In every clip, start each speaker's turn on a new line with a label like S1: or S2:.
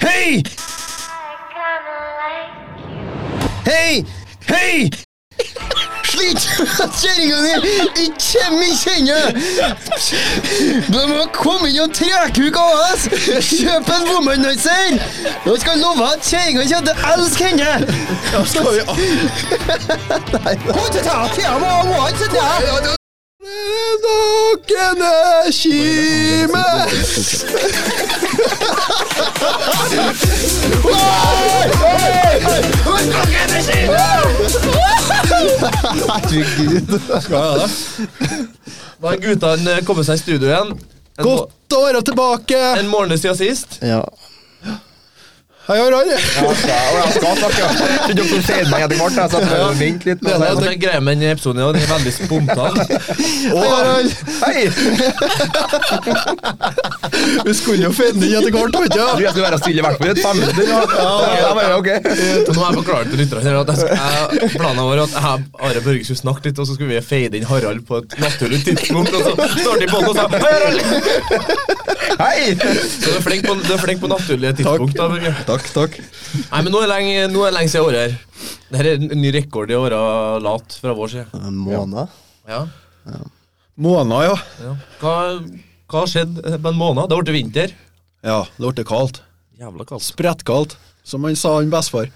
S1: Hei! Hei! Hei! Slik kjerringa di ikke kommer i kjennet! Du må komme innom Trekuk AS! Kjøp en womanizer! Jeg skal love at kjerringa kommer til å elske henne!
S2: Skal vi av?
S1: Kom til tak, jeg må må ikke sitte her!
S2: Noen kime
S1: Herregud.
S2: Skal jeg ha det? Da har guttene kommet eh, seg i studio igjen. En, må-
S3: Godt å være tilbake!
S2: en morgen siden sist.
S1: Ja.
S3: Hei, hei, hei.
S4: Jeg skal snakke, ja. Så dere ser meg etter hvert, jeg, så jeg prøver å vente litt.
S2: Det
S4: Med
S2: er en greie med denne episoden, ja, den er veldig spontan.
S3: Hei, hei, hei.
S4: Hei!
S3: Vi skulle jo finne inn etter hvert, vet
S4: Jeg tror
S3: du.
S4: jeg skulle være stille i hvert fall i et fem minutter. Ja, ja, ja, ok.
S2: Så Eh, Nå har jeg forklart til lytterne her at jeg skal, jeg, planen vår er at jeg Are Børge skulle snakke litt, og så skulle vi fade inn Harald på et naturlig tidspunkt, og så står de på den og sier «Hei, Harald!
S4: Hei!
S2: Så du er flink på, du er flink på naturlige tidspunkt. Da, Børge.
S3: Takk, takk.
S2: Nei, men nå er det lenge, nå er det lenge siden året her. Dette er en ny rekord i åra lat fra vår side.
S1: En måned?
S2: Ja.
S3: Måneder, ja.
S2: Ja. Hva, hva har skjedd på en måned? Det ble vinter.
S3: Ja, det ble kaldt.
S2: Jævla kaldt.
S3: Sprettkaldt, som han sa han bestefar.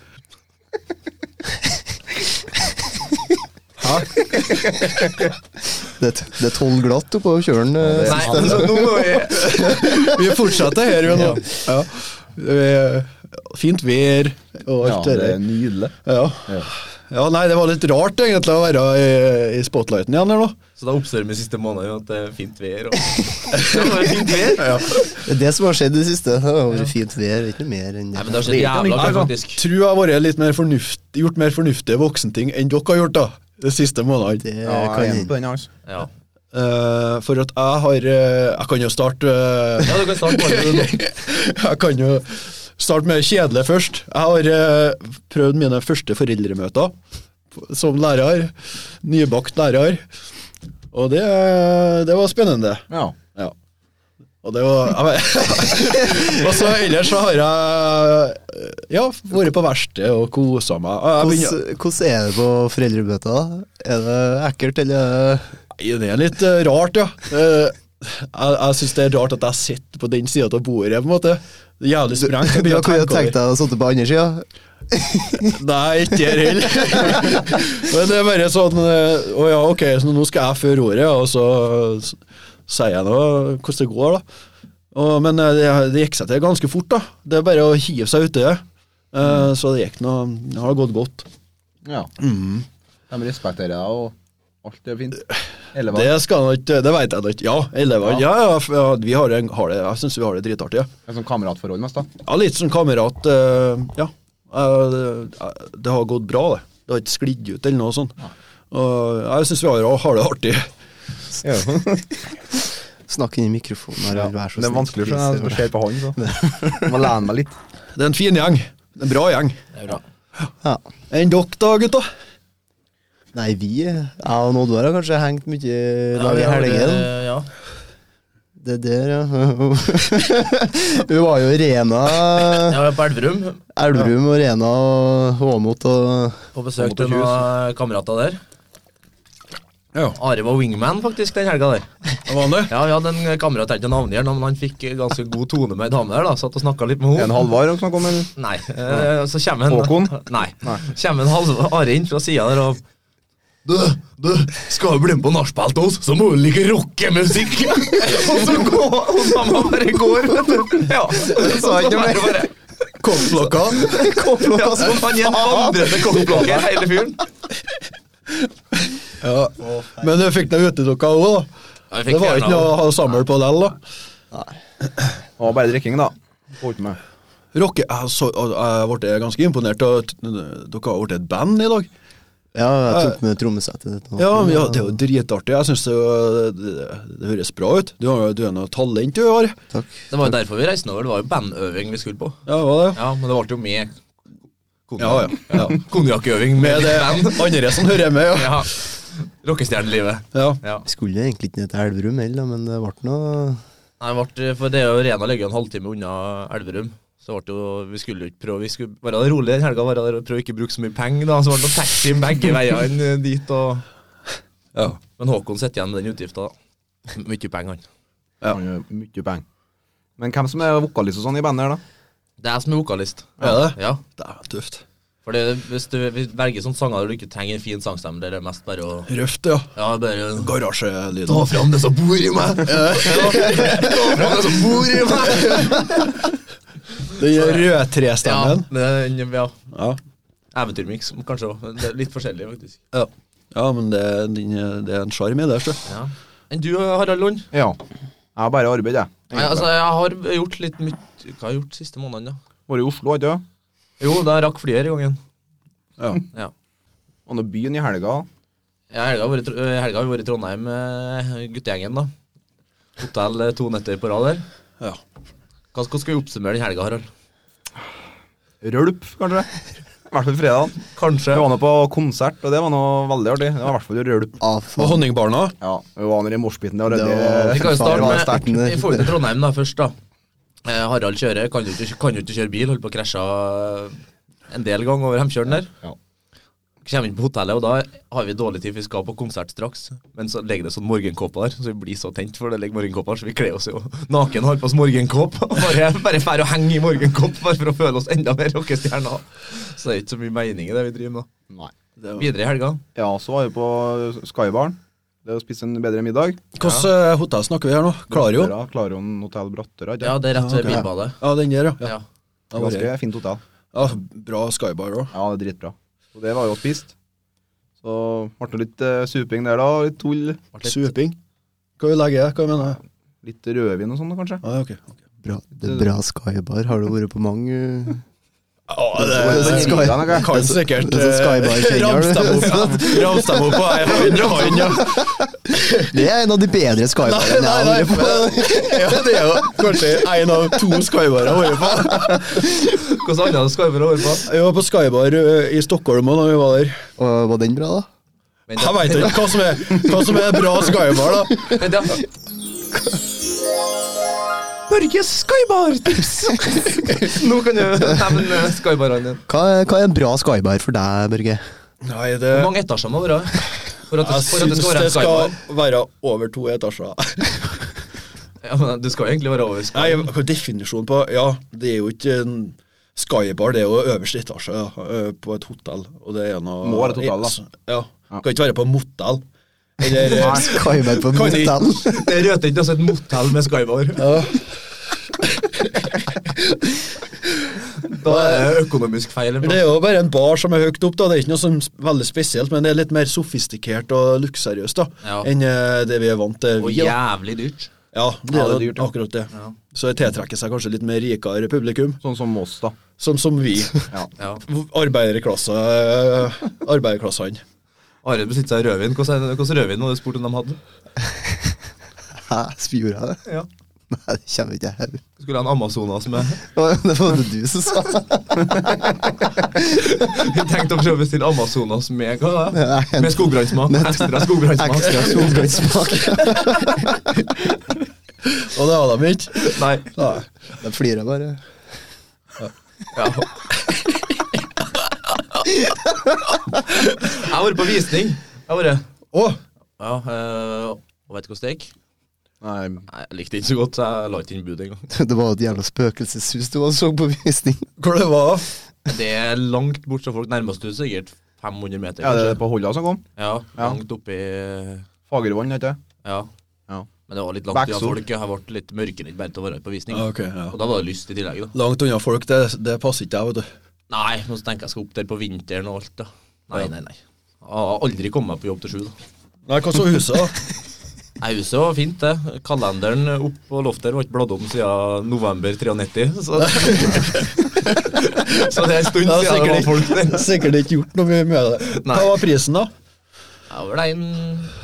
S1: Det, det er tolv glatt oppå kjølen. eh,
S2: Nei, altså, nå må vi
S3: Vi fortsetter her, vi nå. Ja. Det er Fint vær og alt det der.
S4: nydelig.
S3: Ja. ja, nei, det var litt rart egentlig å være i, i spotlighten igjen her nå.
S2: Så da oppsummerer vi siste måned jo at det er fint vær. Og... Det var fint vær.
S1: Det er det som har skjedd i det siste. Det har vært fint vær, ikke noe mer enn
S2: Nei, men det har skjedd jævla mye, faktisk.
S3: Tror jeg har vært litt mer fornuft, gjort mer fornuftige voksenting enn dere har gjort da, de siste månedene.
S1: Det
S4: Ja,
S1: kan
S4: jeg er enig
S1: hende.
S4: på den, altså.
S2: Ja.
S3: Eh, for at jeg har eh, Jeg kan jo starte eh,
S2: ja, du kan starte bare med det nå.
S3: Jeg kan jo starte med det kjedelige først. Jeg har eh, prøvd mine første foreldremøter f- som lærer. Nybakt lærer. Og det, det var spennende.
S4: Ja.
S3: Ja. Og det var jeg vet- Og så ellers så har jeg ja, vært på verksted og kosa meg. Og Jeg begynner,
S1: Hvordan, hvordan er det på foreldrebøta? da? Er det ekkelt, eller er det-
S3: Nei, det er litt eh, rart, ja. Eh, jeg jeg syns det er rart at jeg sitter på den sida av bordet, på en måte. Det er Jævlig sprengt. jeg
S1: Du
S3: begynner å
S1: kunne
S3: tenke
S1: jo tenkt
S3: over-
S1: deg å sitte på andre sida.
S3: Nei, ikke der heller. Men det er bare sånn eh, Å ja, ok, så nå skal jeg føre ordet, og så s- sier jeg nå hvordan det går, da. Og, men eh, det, det gikk seg til ganske fort, da. Det er bare å hive seg uti det. Eh, Så det gikk nå Det har gått godt.
S4: ja.
S1: Mhm.
S4: De respekterer deg, og alt er fint. Hele
S3: Det
S4: veien.
S3: skal nok Det vet jeg nok. Ja, elevene. Ja, ja, f- ja, vi har det, har det Jeg syns vi har det dritartig. Ja.
S4: Det er sånn kameratforhold mest, da.
S3: Ja, litt som kamerat. eh, ja. Eh, det- eh, det har gått bra, det. Det har ikke sklidd ut eller noe sånt. Og jeg syns vi har, har det artig.
S1: Snakk inn i mikrofonen.
S4: Ja.
S1: Harald, vær så
S4: Det er
S1: snill.
S4: vanskelig å skjønne når du ser på han, så. Må lene meg litt.
S3: Det er en fin gjeng. Det er En bra gjeng.
S2: Det er bra.
S1: Ja.
S3: Enn dere, da, gutta?
S1: Nei, vi Jeg og Oddvar har kanskje hengt mye i lag i
S2: Ja, vi har,
S1: helgen.
S2: eh, Ja.
S1: Det der, ja. Hun var jo i Rena,
S2: Jeg var på Elverum
S1: Elverum og Rena og Håmot og
S2: på besøk til noen kamerater der.
S3: Ja.
S2: Are var wingman faktisk den helga der.
S3: Vanlig?
S2: Ja, Vi hadde en kamerat, jeg tenkte navnet igjen, men han fikk ganske god tone med ei dame der. da, Satt og snakka litt med
S4: En
S2: henne.
S4: Halvard dere snakker om, eller?
S2: Nei. eh, Så kommer en
S4: Håkon?
S2: Nei. Kommer en halv Are inn fra sida der og du, du, skal du bli med på nachspiel til oss, så må du like rockemusikk! og så går og sammen bare går, vet du. Ja. Så
S1: han ikke
S2: er det bare-
S3: Kokkblokka?
S2: Ja, så han er en vandrende kokkblokker, hele fyren.
S3: Ja. Men du fikk dem uti dere òg, da.
S2: Ja, vi fikk
S3: Det var
S2: fjernet
S3: ikke noe å
S2: han.
S3: ha samle på lell, da.
S4: Det var bare drikking, da. Holdt med.
S3: Rocke, jeg, så, jeg ble ganske imponert. av at Dere har blitt et band i dag.
S1: Ja, jeg tok med trommesettet ditt. nå.
S3: Ja, men ja, det er jo dritartig. Jeg syns det, det, det høres bra ut. Du, har- du er noe talent du har.
S1: Takk.
S2: Det var jo derfor vi reiste over. Det var jo bandøving vi skulle på.
S3: Ja, hva det?
S2: Ja, Men det ble jo med
S3: Ja, ja. ja.
S2: konjakkøving
S3: Med
S2: med
S3: det
S2: band.
S3: andre som hører med, ja.
S2: Ja. Rockestjernelivet.
S3: ja.
S2: Ja.
S1: Vi skulle egentlig ikke ned til Elverum heller, men det ble noe
S2: Nei, vart, for det er jo Rena ligger jo en halvtime unna Elverum. Så ble det jo, Vi skulle jo ikke prøve, vi skulle være rolig den helga, være der og prøve ikke å bruke så mye penger. da, Så ble det noe taxi begge veiene eh, dit. og...
S3: Ja.
S2: Men Håkon sitter igjen med den utgifta. da. M- Mye penger, han.
S3: Ja.
S4: Han gjør Mye penger. Men hvem som er vokalist og sånn i bandet her, da?
S2: Det er jeg som er vokalist.
S3: Er det?
S2: Ja,
S3: Det er tøft.
S2: for det, Hvis du hvis du velger sånne sanger der du ikke trenger en fin sangstemme, der det er mest bare å
S3: Røft, ja.
S2: Ja, bare
S3: Garasjelyd.
S2: Ta fram det som bor i meg! Ta fram det som bor i meg!
S3: Den
S2: Ja,
S3: rødtrestemmen.
S2: det, ja.
S3: Ja.
S2: Eventyrmix, kanskje òg. Det er Litt forskjellig, faktisk.
S3: Ja. ja, men det, den, det er en sjarm i det. sjø.
S2: Ja. Enn du, Harald Lund?
S4: Ja. Jeg har bare arbeid, jeg.
S2: Nei, altså, jeg har gjort litt mye Hva har jeg gjort siste måneden, da?
S4: Vært i Oslo, ikke sant?
S2: Jo, da rakk flyet i gangen.
S3: Ja.
S2: Ja.
S4: Og nå byen i helga.
S2: I helga har vi vært i Tr- i helga har vi vært i Trondheim med guttegjengen, da. Hotell eh, to netter på rad der.
S3: Ja.
S2: Hva skal, skal vi oppsummere den helga, Harald?
S4: Rølp, kanskje. I hvert fall fredag.
S2: Kanskje
S4: Vi var nå på konsert, og det var noe veldig artig. Det var i hvert fall rølp.
S1: Ah,
S3: Og
S1: faen.
S3: Honningbarna.
S4: Ja, vi var nede i moshpiten der. og
S1: Det
S4: Det
S1: var-
S2: Vi kan
S1: Det
S2: jo
S1: var
S2: starte
S1: sterkt.
S2: med Vi får til Trondheim da, først, da. Eh, Harald kjører. Kan jo ikke, kan jo ikke kjøre bil. Holdt på å krasje eh, en del ganger over hemkjøren der.
S4: Ja.
S2: Kommer inn på hotellet, og da har vi dårlig tid, for vi skal på konsert straks. Men så ligger det sånn morgenkåper der, så vi blir så tent, for det ligger morgenkåper, så vi kler oss jo naken og har på oss morgenkåp. og Bare bare drar og henger i morgenkåp, bare for å føle oss enda mer rockestjerner. Så det er ikke så mye mening i det vi driver med.
S4: Nei.
S2: Videre i helga.
S4: Ja, så var vi på Skybaren. Det er å spise en bedre middag.
S3: Hvilket eh, hotell snakker vi her nå? Klarion?
S4: Brattøra, Klarion Hotell Brattøra. ikke
S2: Ja,
S4: sant?
S2: det er rett ved
S3: ok.
S2: bilbadet.
S3: Ja, den der, ja. ja.
S2: Ja.
S3: da var jeg.
S4: Ganske fint hotell.
S3: ja bra skybar òg.
S4: Ja, det er dritbra. Og det var jo spist. Så ble det litt eh, suping der, da. Litt tull.
S2: Ble litt-
S3: Suping. Hva vil jeg legge i det? Hva mener jeg?
S4: Litt rødvin og sånn, da, kanskje.
S3: Ah, ja, ok. ok.
S1: Bra, det er bra skybar. Har du vært på mange uh,
S4: det-
S1: sånn
S4: det- det- det-
S3: Kan sikkert
S1: det er sånn
S3: eh,
S1: skybar kjenner
S3: ramse dem
S1: du.
S3: opp ja. Ramse dem opp på ei hånd og hånd, ja.
S1: Det er en av de bedre skybarene jeg
S3: Nei,
S1: har
S3: nei,
S1: vært på.
S3: ja, det er jo kanskje en av to skybarer jeg har vært på.
S2: Hvordan annet skal vi være over på?
S3: Jeg var på skybar ø, i Stockholm også da vi var der.
S1: Og Var den bra, da?
S2: Men
S3: Jeg veit ikke hva som er, hva som er bra skybar, da.
S2: Vent, ja. Norges skybar-tips! Nå kan du nevne skybarene dine.
S1: Hva er, hva er en bra skybar for deg, Børge?
S3: Nei, det
S2: Hvor Eh, mange etasjer må det være? For at det,
S3: Jeg
S2: for at det
S3: syns
S2: skal være
S3: det
S2: en
S3: skal
S2: skybar.
S3: være over to etasjer.
S2: Ja, men du skal jo egentlig være over
S3: Nei,
S2: skybar.
S3: hva er definisjonen på Ja, det er jo ikke en skybar, det er jo øverste etasje ja, ø, på et hotell. Og det er noe
S4: Må være et hotell, da.
S3: Ja.
S4: Ja.
S3: Kan ikke være på motell. Eller ø,
S1: Skybar på
S3: Kan ikke.
S1: motell?
S2: Det røter ikke altså et motell med skybar. Da er det økonomisk feil.
S3: Det er jo bare en bar som er høyt opp, da. Det er ikke noe som s- veldig spesielt, men det er litt mer sofistikert og luksuriøst da,
S2: Ja.
S3: enn eh, det vi er vant til.
S2: Og
S3: vi, da.
S2: jævlig dyrt.
S3: Ja, det
S4: Ja,
S3: er
S4: det er dyrt,
S3: jo
S4: ja.
S3: akkurat det.
S2: Ja.
S3: Så det tiltrekker seg kanskje litt mer rikere publikum,
S4: Sånn som oss, da.
S3: sånn som vi.
S4: Ja.
S2: Ja.
S3: Arbeiderklasse, eh, arbeiderklassene.
S2: Are besitter seg i rødvin. Hvordan er det- hvordan rødvin var det du spurte om de hadde?
S1: Hæ, gjorde jeg det?
S2: Ja.
S1: Nei, det kommer ikke jeg her.
S2: Skulle ha en Amazonas med
S1: Det var det du som sa det.
S2: Vi tenkte å prøve å bestille Amazonas med hva da?
S1: Nei, en-
S2: Med skogbrannsmak. Ekstra skogbrannsmak.
S1: Ekstra solbrannsmak.
S3: Og det har de ikke.
S2: Nei.
S3: Nei.
S1: Da flirer jeg bare.
S2: Ja. Jeg har vært på visning. Jeg har vært
S3: Å,
S2: Ja, øh, og vet du hvordan det gikk?
S4: Nei,
S2: Nei, Jeg likte det ikke så godt, så jeg la ikke inn bud engang.
S1: Det var et jævla spøkelseshus du var og så på visning.
S3: hvor det var?
S2: Det er langt bort fra folk. Nærmest du sikkert 500 meter,
S4: ja, det er
S2: kanskje.
S4: på Holla som kom.
S2: Ja,
S4: Ja.
S2: langt oppi Ja.
S4: Fagervann, heter det. Ja.
S2: Men det var litt langt unna
S4: Backsol.
S2: folk. Jeg ble litt mørkeredd bare til å være på visning.
S3: Ja, ok, ja.
S2: Og da var det lyst i tillegg, da.
S3: Langt unna folk, det, det passer ikke jeg, vet du.
S2: Nei, nå tenker jeg skal opp der på vinteren og alt, da. Nei, nei, nei. Jeg har aldri kommet meg på jobb til sju, da.
S3: Nei, hva så huset, da?
S2: Nei, huset var fint, det. Kalenderen opp på loftet her var ikke bladd om siden november 93, så Så det er en stund
S3: Det
S2: siden
S3: er
S2: det var folk der.
S3: sikkert, sikkert ikke gjort noe mye med det.
S2: Nei.
S3: Hva var prisen, da?
S2: Jeg var der en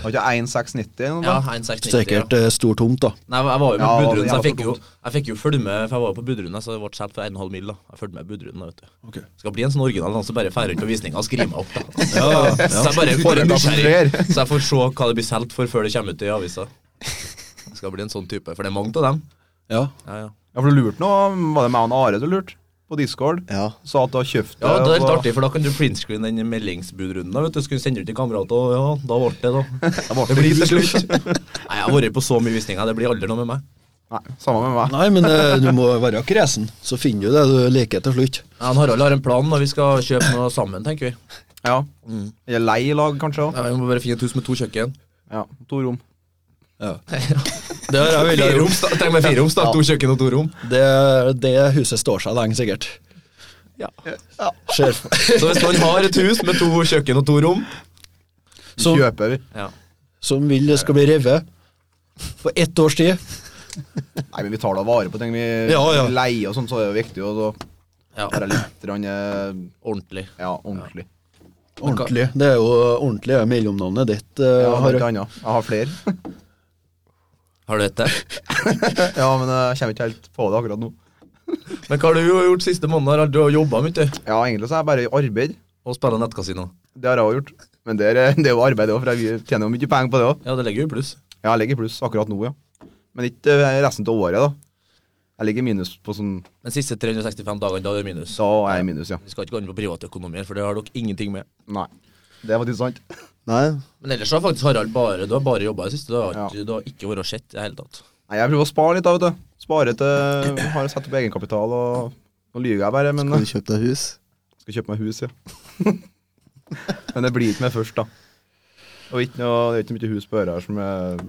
S4: Har ikke 1,690 eller noe?
S2: Ja,
S4: sånt?
S2: en 690.
S3: Sikkert
S2: Ja.
S3: eh, stor tomt, da.
S2: Nei, jeg var
S4: Ja,
S2: jo på
S4: det var
S2: Budrunden, så jeg
S4: jævla
S2: fikk, jo, jeg fikk jo følge med, for jeg var jo på Budrunden, så det ble solgt for 1,5 mil, da. Jeg fulgte med Budrunden, da, vet du.
S3: Ok.
S2: Skal bli en sånn original, han som bare drar rundt på visninga og skriver meg opp, da.
S3: Ja, ja.
S2: Så jeg bare får en
S4: Hva som
S2: nysgjerrig,
S4: skjer?
S2: så jeg får se hva det blir solgt for før det kommer ut i avisa. Jeg skal bli en sånn type, for det er mange av dem.
S3: ja.
S2: Ja, ja.
S4: Ja, for du lurte nå, var det meg og han Are som lurte? På Discord.
S1: Ja.
S4: Sa at du har kjøpt
S2: Ja, det er litt
S4: og-
S2: artig, for da kan du printscreen den meldingsbudrunden. da, vet Du skulle sende ut til kamerater, og ja, da ble det, da.
S4: Det ble
S2: Det blir
S4: ikke
S2: til
S4: slutt.
S2: slutt. Nei, Jeg har vært på så mye visninger, det blir aldri noe med meg.
S4: Nei, samme med meg.
S3: Nei, men eh, du må være kresen, så finner du det du liker til slutt.
S2: Ja, han Harald har en plan, og vi skal kjøpe noe sammen, tenker vi.
S4: Ja. Eller lei i lag, kanskje. også.
S2: Ja, vi må bare finne et hus med to kjøkken.
S4: Ja, To rom.
S3: Det, har jeg villet
S2: Fire
S3: gjort.
S2: rom, sta- tenk med fire rom, da. To kjøkken og to rom.
S3: det, det huset står seg lenge, sikkert.
S2: Ja.
S3: Ser f-
S2: Så hvis noen har et hus med to kjøkken og to rom
S4: Vi
S3: Som-
S4: kjøper, vi.
S2: ja.
S3: Som vil det skal bli revet på ett års tid.
S4: Nei, men vi tar da vare på ting. Vi
S3: Ja, ja.
S4: leier og sånn, så er det jo viktig. Og så
S2: ja,
S4: bare litt grann, eh,
S2: ordentlig.
S4: ja, ordentlig.
S3: Ordentlig. Det er jo ordentlig er mellomnavnet ditt. eh,
S4: Jeg har
S3: Harald.
S4: ikke annet. Jeg har flere.
S2: Har du dette?
S4: ja, men eh, jeg kommer ikke helt på det akkurat nå.
S2: Men hva har du gjort siste måned? Harald? Du har jobba mye du,
S4: Ja, egentlig så er jeg bare i arbeid.
S2: og spilla nettkasino.
S4: Det har jeg også gjort. Men det er, eh, det er jo arbeid òg, for jeg tjener jo mye penger på det òg.
S2: Ja, det ligger jo i pluss.
S4: Jeg ligger i pluss akkurat nå, ja. Men ikke eh, resten av året, da. Jeg ligger i minus på sånn
S2: Men siste 365 dagene, da er det minus.
S4: Da er jeg i minus, ja.
S2: Vi skal ikke gå inn på privatøkonomi, her, for det har dere ingenting med.
S4: Nei. Det er faktisk sant.
S1: Nei.
S2: Men ellers har faktisk Harald bare Du har bare jobba i det siste. Du har,
S4: Ja.
S2: ikke- du har ikke vært sett i det hele tatt.
S4: Nei, jeg prøver å spare litt, da, vet du. Spare til Har satt opp egenkapital, og nå lyver jeg bare, men eh,
S1: Kan du kjøpe deg hus?
S4: Skal kjøpe meg hus, ja. Men det blir ikke meg først, da. Og ikke noe, det er ikke mye hus på øra her som eh,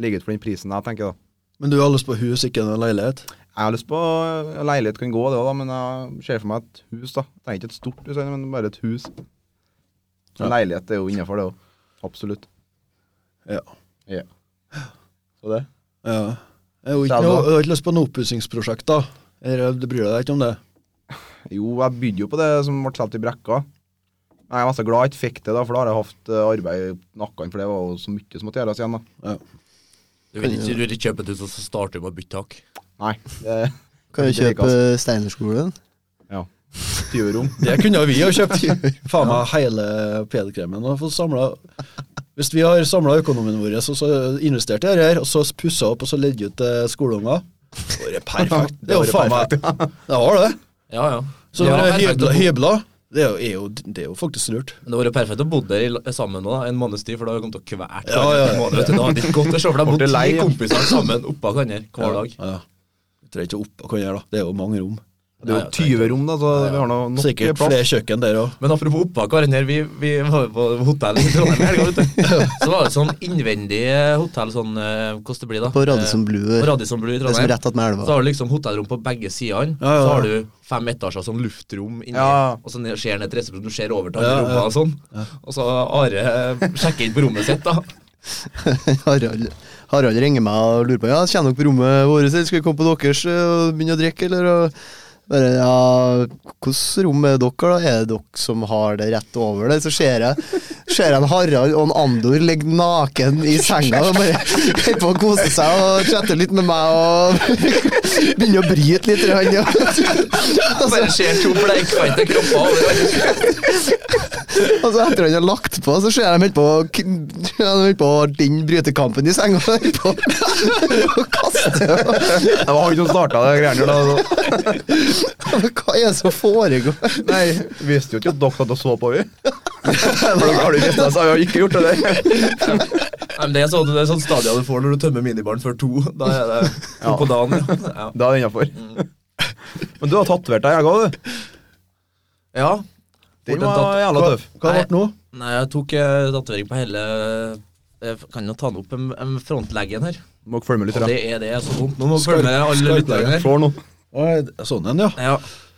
S4: ligger ute for den prisen jeg tenker, da.
S3: Men du har lyst på hus, ikke noen leilighet?
S4: Jeg har lyst på eh, leilighet kan gå, det òg, da, men jeg ser for meg et hus, da. Det er ikke et stort hus, men bare et hus. Så
S3: Ja.
S4: Leilighet er jo innafor, det òg. Absolutt.
S3: Ja.
S4: Ja. Så det.
S3: ja. Jeg har jo ikke,
S4: Selv
S3: noe,
S4: da?
S3: jeg har ikke lyst på noe oppussingsprosjekt, da. Eller, Du bryr deg ikke om det?
S4: Jo, jeg bydde jo på det som ble solgt i brekka. Jeg er mest glad jeg ikke fikk det, da, for da har jeg hatt eh, arbeid i nakken, for det var jo så mye som måtte gjøres igjen, da.
S3: Ja.
S2: Du vil ikke, du vil ikke kjøpe et hus, og så starter du med å bytte tak.
S4: Nei. Det,
S1: Kan du
S4: det er ikke,
S1: kjøpe
S4: altså.
S1: Steinerskolen?
S4: Ja. 20 rom.
S3: Det kunne vi ha kjøpt. Faen meg hele PD-kremen. og fått samlet- Hvis vi har samla økonomien vår og så investert i det her, og så pussa opp og så ledd ut til skoleunger Det er perfekt. Det er jo faen meg Det var det.
S2: Ja, ja.
S3: Så
S2: ja,
S3: det er
S2: perfekt å bo-
S3: hybler, hybler det, er jo, er jo, det er jo faktisk lurt.
S2: Men det hadde vært perfekt å bo der i, la- sammen nå, da, en måneds tid, for da hadde vi kommet til å kvert
S3: Ja, ja, ja.
S2: hverandre. vet du. Da hadde det ikke gått å se for deg
S4: Ble
S2: bodde
S4: lei,
S2: ti
S4: ja.
S2: kompiser sammen oppå hverandre hver dag.
S3: Ja. Vi trenger ikke opp og kan gjøre da. Det er jo mange rom.
S4: Det er jo 20 rom, da, så vi har nå nok
S3: Sikkert
S4: plass.
S3: flere kjøkken der òg.
S2: Men apropos oppå hverandre, vi, vi var jo på hotell i Trondheim i helga, vet du. Så var det sånn innvendig eh, hotell, sånn eh, hvordan det blir da.
S1: På Radisson Blue
S2: Eh,
S1: der.
S2: på Radisson Blue
S1: Det
S2: i
S1: som er
S2: Trondheim.
S1: rett attmed
S2: Så
S1: elva.
S2: har du liksom hotellrom på begge sidene.
S3: Ja, ja, ja.
S2: Så har du fem etasjer som luftrom inni,
S4: Ja.
S2: og så ned- ser ned til resepsjonen, du ser over til
S3: Ja,
S2: alle
S3: ja.
S2: rommene og sånn. Og så Are eh, sjekker inn på rommet sitt, da.
S1: Harald, Harald ringer meg og lurer på Ja, kommer dere på rommet vårt, eller skal vi komme på deres eh, og begynne å drikke, eller? Og bare, ja, Hvilket rom er dere, da? Er det dere som har det rett over det? Så ser jeg, ser jeg en Harald og en Andor ligge naken i senga og bare holder på å kose seg og chatte litt med meg og begynner å bryte litt. i han, ja.
S2: Og bare ser to bleikfeite kropper overalt.
S1: Og så etter han har lagt på, så ser jeg dem helt på k- Han holder på å den brytekampen i senga. og holder på å kaste
S4: Det var han som starta det greiene der. da, så-
S1: Hva er det som foregår?
S4: Nei, visste jo ikke at dere satt og så på, vi. For dere har jo visst det, så har vi ikke gjort det der.
S2: Nei, men det er sånn, det er sånn stadion du får når du tømmer minibaren før to. Da er det to
S4: Ja.
S2: på dagen. Ja.
S4: Da er det innafor. Men du har tatovert deg i helga, du.
S2: ja. ja.
S4: Den
S2: Borten
S4: var
S2: tatt-
S4: jævla
S3: Hva,
S4: tøff.
S3: hva ble det nå?
S2: Nei, jeg tok eh, tatovering på hele jeg kan jo ta den opp en, en frontleggen her.
S4: Må dere følge med litt.
S2: Og det
S4: da.
S2: er det er så vondt. Nå må du følge med alle lytterne her.
S4: Slår nå.
S3: Oi, Sånn en, ja.
S2: Ja.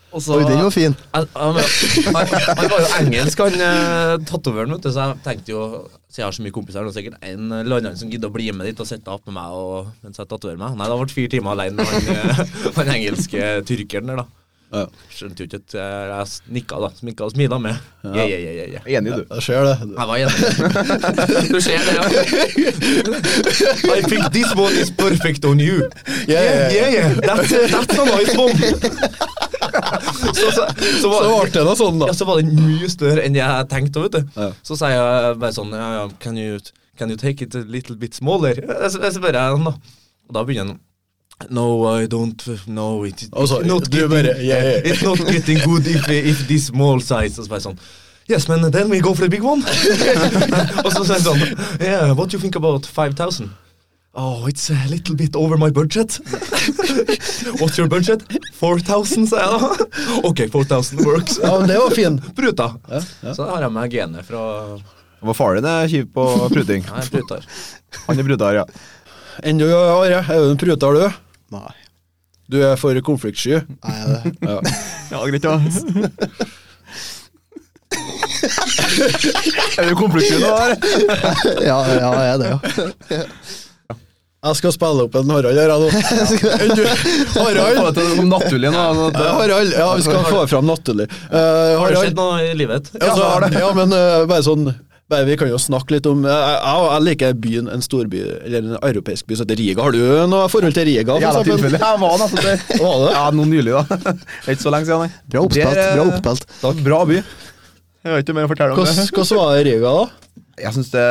S2: Og så
S1: Oi, den var fin.
S2: Han, han, han, han var jo engelsk, han eh, tatoveren, vet du, så jeg tenkte jo Siden jeg har så mye kompiser, er det sikkert en eller annen som gidder å bli med dit og sitte opp med meg og, mens jeg tatoverer meg. Nei, det har vært fire timer alene med han, eh, han engelske tyrkeren der, da.
S3: ja.
S2: Skjønte jo ikke at eh, jeg nikka, da. Sminka og smila med. Ja, ja, ja, ja, ja.
S4: Enig, du.
S3: Jeg ser det.
S2: Jeg var enig. Du ser det, ja. I think this one is perfect on you.
S3: Yeah, yeah, yeah.
S2: That's, that's a nice one. Så, så, så
S3: Så
S2: var
S3: ble det noe sånn, da.
S2: ja, så var den mye større enn jeg tenkte. vet du.
S3: Ja.
S2: Så sier jeg bare sånn ja, ja, can, you, can you take it a little bit smaller? Eh, Så, så spør jeg han, da. Og da begynner han No, I don't No, it, it,
S3: Altså,
S2: not
S3: du bare, ja, ja.
S2: It's not getting good if, if this small size Og så bare sånn Yes, men then we go for the big one Og så sier han sånn Yeah, what do you think about 5000? Oh, it's a little bit over my budget What's your budget? 4000, sier jeg da Ok, 4000 works
S3: Ja, men det var fin.
S2: Pruta Så da har jeg med genet fra
S4: Hva faren din er kjiv på pruting.
S2: Nei, prutar
S4: Han er brutar, ja.
S3: Enn du, Are, er du en pruter, du?
S1: Nei.
S3: Du er for konfliktsky.
S1: Nei, det
S3: Ja.
S4: Ja, greit, da. Er du konfliktsky nå, eller?
S1: Ja, ja, jeg er det, ja.
S3: Jeg skal spille opp en Harald her, jeg nå. Enn du,
S4: Få
S3: Harald?
S4: det til å komme naturlig nå. sånn
S3: Ja,
S4: at-
S3: Harald, ja, vi skal få fram naturlig. Eh,
S2: Har du
S3: Harald,
S2: sett noe i livet?
S3: Ja, så har det. Ja, men eh, bare sånn bare Vi kan jo snakke litt om Jeg, jeg, jeg liker byen, en storby, eller en europeisk by som heter Riga. Har du noe forhold til Riga? for
S4: Jævla
S3: eksempel?
S4: tilfeldig. Jeg var altså. nesten der.
S3: Var det?
S4: Ja, noe nylig, da. Det er ikke så lenge siden, nei.
S1: Bra oppspilt.
S4: Der, eh,
S1: Bra oppspilt.
S4: Takk. Bra by. Jeg har ikke mer å fortelle om det.
S3: Hvordan hvordan var det i Riga, da?
S4: Jeg synes det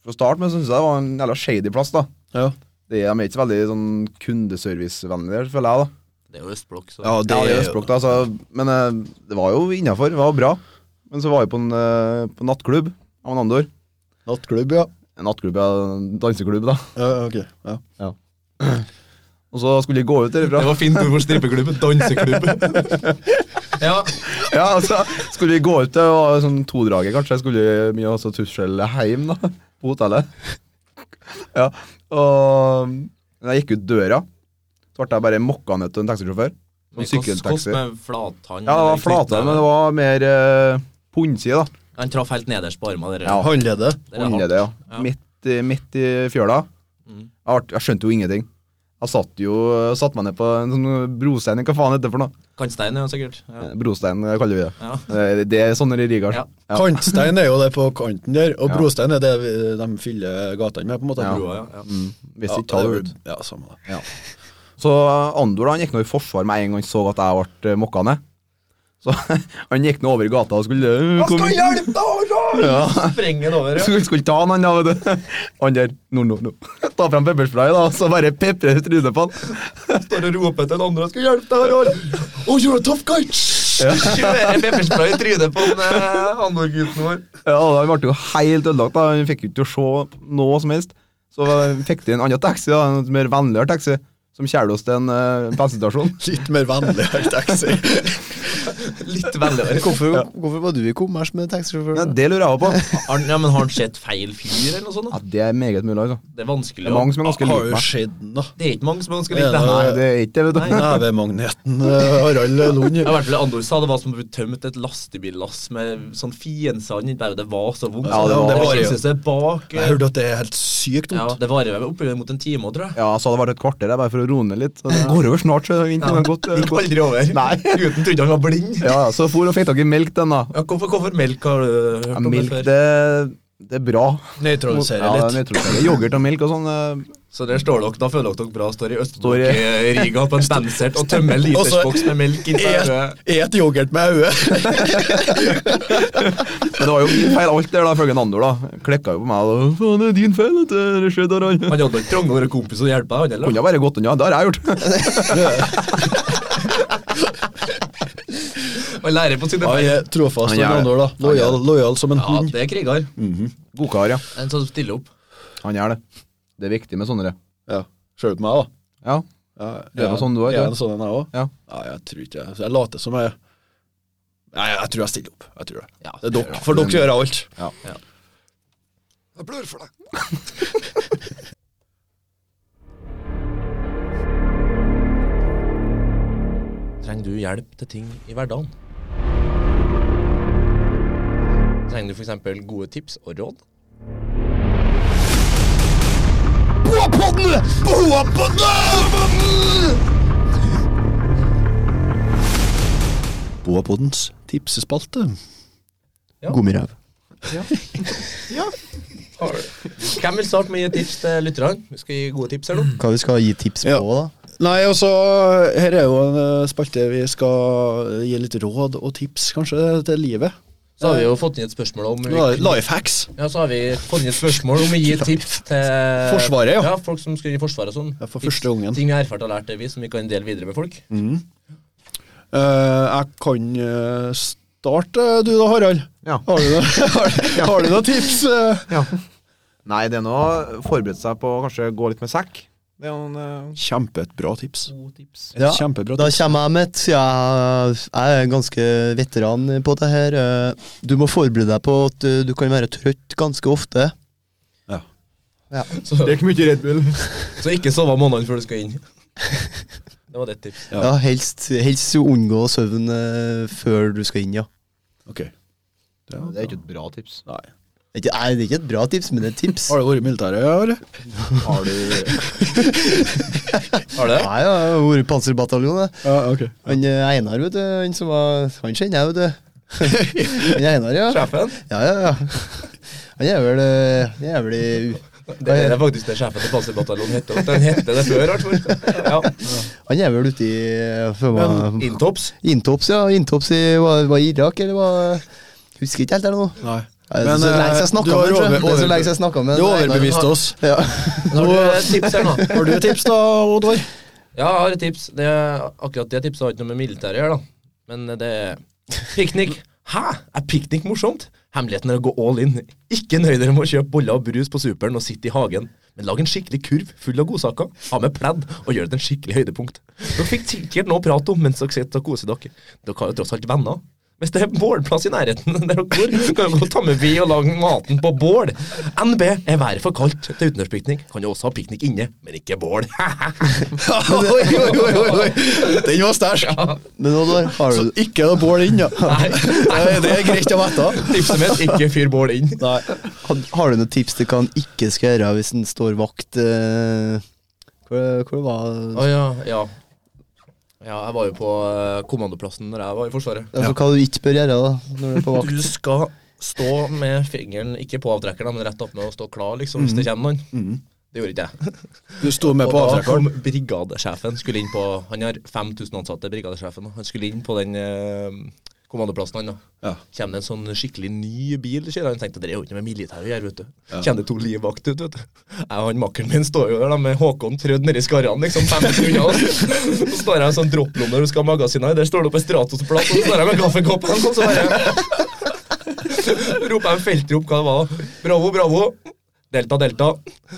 S4: Fra starten men synes jeg det var en jævla shady plass, da.
S3: Ja,
S4: Det er, de er ikke så veldig sånn kundeservicevennlige der, føler jeg, da.
S2: Det er jo østblokk så.
S4: Ja, det er østblokk, da, så, men eh, det var jo innafor. Det var bra. Men så var jeg på en, eh, på nattklubb av en annen år.
S3: Nattklubb, ja.
S4: En nattklubb, ja, en danseklubb, da.
S3: ja ok. Ja.
S4: Og så skulle de gå ut derifra.
S2: Det var fint ord for strippeklubben, danseklubben Ja,
S4: Ja, altså, skulle vi gå ut det var sånn todraget, kanskje. Skulle vi mye også tusjel hjem, da. På hotellet. Ja, og da jeg gikk ut døra, så ble jeg bare mokka ned til en taxisjåfør. En
S2: Men
S4: sykkeltaxi.
S2: hvordan- hvordan med flathånd?
S4: Ja, det var flate, men det var mer eh, pundside, da.
S2: Han traff helt nederst på armen. Dere.
S4: Ja.
S3: Håndleddet.
S2: Det er hardt.
S4: Håndleddet,
S2: Ja.
S4: ja. Midt, i- midt i fjøla.
S2: Mm.
S4: Jeg, ble, jeg skjønte jo ingenting. Jeg satt jo, satt meg ned på en sånn brostein, hva faen heter det for noe?
S2: Kantstein, ja, sikkert. Ja.
S4: Brostein eh, kaller vi det.
S2: Ja.
S4: Eh, Det er sånne i Riga.
S2: Ja.
S4: Ja.
S3: Kantstein er jo det på kanten der, og
S4: Ja.
S3: brostein er det vi- de fyller gatene med, på en måte.
S4: Ja.
S2: Broa, ja. ja.
S4: Mm, hvis
S3: Ja,
S4: ikke tar det ut.
S3: Ja, samme det.
S4: Så Andor da, han gikk nå i forsvar med en gang han så at jeg ble eh, mokka ned. Så han gikk nå over i gata og skulle øh, kom-
S2: hjelpe deg, Lars!
S4: Ja.
S2: Sprenger over, ja.
S4: Skulle, skulle ta han, han da, vet du. Han der, no, no, no. Ta fram pepperspray, da, og så bare pepre ut trynet på han.
S2: Står og roper til andre skal hjelpe deg, Harald. Oh, you're a tough guy! Kjører pepperspray i trynet på den, eh, Andor-gutten vår.
S4: Ja, og Han ble jo helt ødelagt, da. Han fikk jo ikke til å se noe som helst. Så eh, fikk de en annen taxi, da, en mer vennligere taxi, som kjærte oss til en uh, bensinstasjon.
S3: Litt mer vennlig, helt taxi.
S2: Litt veldig
S1: Hvorfor, hvorfor var du i kommers med taxisjåfør?
S4: Ja,
S1: da?
S4: det lurer jeg også på.
S2: Har han- Ja, men har han sett feil fyr, eller noe sånt? da?
S4: Ja, Det er meget mulig, altså.
S2: Det er vanskelig.
S4: Det er
S2: å-
S4: mange som er ganske
S3: Har
S4: like
S3: jo
S4: meg.
S3: skjedd den, da.
S2: Det er ikke mange som ønsker
S3: Er
S2: litt det
S3: det-
S4: Nei,
S2: her.
S4: det er ikke det, vet du.
S3: Nevemagneten eh, Harald Lund.
S2: Ja, i hvert fall Andor sa det var som å bli tømt et lastebillass med sånn fiendsand. bare Det var så vondt.
S4: Ja, det var-
S2: det
S3: det var-
S2: kjennes det bak. eh,
S3: Jeg hørte at det er helt sykt
S2: Ja,
S3: vondt.
S2: det varer vel opp mot en time, tror jeg.
S4: Ja, så hadde det vært et kvarter der, bare for å roe ned litt. Så det går over snart. så ingenting har gått.
S2: Gikk aldri over.
S4: Nei.
S2: Gutten trodde han var blind.
S4: Ja, ja, Så for og fikk tak i melk, den, da.
S2: Ja, hvorfor, hvorfor melk har du hørt
S4: Ja,
S2: om
S4: melk,
S2: det før?
S4: det, det er bra.
S3: Nøytralisere
S4: Ja,
S3: litt.
S4: nøytralisere. Yoghurt og melk og sånn. eh,
S2: Så der står dere, da føler dere dere bra, står i
S4: Står i-
S2: Østblokk-riga på en bensert og tømmer en
S3: Og så-
S2: litersboks med melk inn
S3: Et, et yoghurt med øye.
S4: Men det var jo min feil, alt der, da, ifølge Nando. da. Klekka jo på meg. da, Faen, det er din feil at eh, det skjedde der, han.
S2: Han hadde nok trangt å være kompis og hjelpe deg, han
S4: Kunne
S2: eller?
S4: ha bare gått unna. Det har jeg gjort.
S2: Han lærer på sine
S3: Han
S2: feil.
S3: er trofast
S4: Han
S3: og
S4: er det.
S3: andre år, da. Lojal, lojal som en
S2: Ja,
S3: hund.
S2: det er kriger.
S4: Godkar, ja.
S2: En sånn som stiller opp.
S4: Han gjør det. Det er viktig med sånne.
S3: Ja. Sjøl på meg, da.
S4: Ja.
S3: Ja,
S4: Du er
S3: ja.
S4: noe sånn du er,
S3: Jeg
S4: ikke?
S3: er en sånn en, jeg òg.
S4: Ja.
S3: jeg tror ikke jeg så Jeg later som jeg Nei, jeg tror jeg stiller opp. Jeg tror det.
S2: Ja,
S3: det er dere. For dere gjør jeg alt.
S4: Ja.
S2: Ja.
S3: Jeg blør for deg.
S2: Trenger du hjelp til ting i hverdagen? Trenger du f.eks. gode tips og råd?
S3: Boapoddens tipsespalte.
S1: Gummiræv.
S2: Hvem vil starte med å gi tips til lytterne? Vi skal gi gode tips her nå.
S1: Hva vi skal gi tips på,
S3: Ja.
S1: da?
S3: Nei, og så Her er jo en eh, spalte vi skal gi litt råd og tips, kanskje, til livet.
S2: Så har vi jo fått inn et spørsmål om vi,
S3: Life hacks.
S2: ja, så har vi fått inn et spørsmål om å gi tips til
S3: Forsvaret, ja.
S2: ja folk som skal inn i Forsvaret og sånn.
S3: Ja, Mm. for
S2: Tips,
S3: første gangen.
S2: Ting vi har erfart og lært, det vi, som vi kan dele videre med folk.
S3: Eh, jeg kan eh, starte, du da, Harald.
S4: Ja.
S3: Har du noe- har, har du noen tips? eh?
S4: Nei, det er nå å forberede seg på å kanskje gå litt med sekk. Det er noen eh,
S3: Kjempebra tips.
S4: gode tips.
S1: Ja,
S3: Kjempebra
S1: Da
S3: tips.
S1: kommer jeg med et. Ja, jeg er ganske veteran på det her. eh, Du må forberede deg på at eh, du kan være trøtt ganske ofte.
S2: Så,
S4: Drikk mye Red Bull.
S2: så ikke sove månedene før du skal inn. Det var ditt tips.
S3: Ja.
S1: Ja, helst, helst unngå søvn eh, før du skal inn, ja.
S3: Ok. Det er-
S4: Det er ikke et bra tips.
S3: Nei.
S1: Det er ikke- nei, det er ikke et bra tips, men det er et tips.
S3: Har du vært i militæret, ja, eller?
S4: Har du
S2: Har du det?
S1: Nei, jeg har jo vært i panserbataljon. jeg.
S3: Ja, ok.
S1: Han eh, Einar, vet du, han som var Han kjenner jeg, vet du. Han Einar, ja.
S2: Sjefen?
S1: Ja, ja, ja. Han er vel eh, Han er vel i
S2: Det er faktisk det sjefen til Panserbataljonen heter. Den hette det før, i hvert fall. Ja.
S1: Han er vel ute i eh, for meg-
S2: Intops.
S1: Intops, ja. Intops i var, var i Irak, eller var Husker ikke helt der nå.
S3: Nei.
S1: Nei, Det er så
S3: eh,
S1: lenge siden jeg
S3: du
S1: snakka
S3: har
S1: med ham.
S3: over-
S1: Det er så lenge siden jeg snakket med
S3: Du
S1: Einar.
S3: overbeviste oss.
S1: Ja.
S2: Har du et tips her nå?
S3: Har du et tips da, Oddvar?
S2: Ja, jeg har et tips. Det, akkurat det tipset har ikke noe med militæret å gjøre, da. Men det er piknik. Hæ? Er piknik morsomt? Hemmeligheten er å gå all in. Ikke nøy dere med å kjøpe boller og brus på Superen og sitte i hagen, men lag en skikkelig kurv full av godsaker, ha med pledd og gjør det til en skikkelig høydepunkt. Dere fikk sikkert noe å prate om mens dere sitter og koser dere. Dere har jo tross alt venner. Hvis det er bålplass i nærheten der dere bor, kan dere ta med ved og lage maten på bål. NB er været for kaldt til utendørspiknik. Kan jo også ha piknik inne, men ikke bål.
S3: oi, oi, oi, oi, oi. Den var stæsj.
S1: Men Oddvar, har
S3: Så
S1: du
S3: ikke noe bål inn, da.
S2: Nei,
S3: Nei, Det er greit å vite.
S2: tipset mitt ikke fyr bål inn.
S3: Nei.
S1: Har, har du noen tips til hva han ikke skal gjøre hvis han står vakt? eh, Hvor, hvor var
S2: Å ja, ja. Ja, jeg var jo på eh, kommandoplassen når jeg var i Forsvaret.
S1: altså, Hva du ikke bør gjøre da, når du er på vakt?
S2: Du skal stå med fingeren, ikke på avtrekkeren, men rett opp med og stå klar, liksom, hvis det
S3: Mm.
S2: kommer noen. Det gjorde ikke jeg.
S3: Du sto med
S2: Og
S3: på
S2: da
S3: avtrekkeren.
S2: kom brigadesjefen, skulle inn på Han har 5000 ansatte, brigadesjefen. og Han skulle inn på den eh, kommandoplassen, han da.
S3: Ja.
S2: Kommer det en sånn skikkelig ny bil, sier han. Tenkte det er jo ikke noe med militæret å gjøre, vet du. Kjenner to livvakt ut, vet du. Jeg og han makkeren min står jo der da, med Håkon trødd nedi skarrene, liksom 50 unna oss. Så står jeg i en sånn dropplomme når du skal ha magasiner, der står det oppe en Stratos-plass, og så står jeg med kaffekoppen, og så bare roper jeg feltrop hva det var. Bravo, bravo. Delta, delta.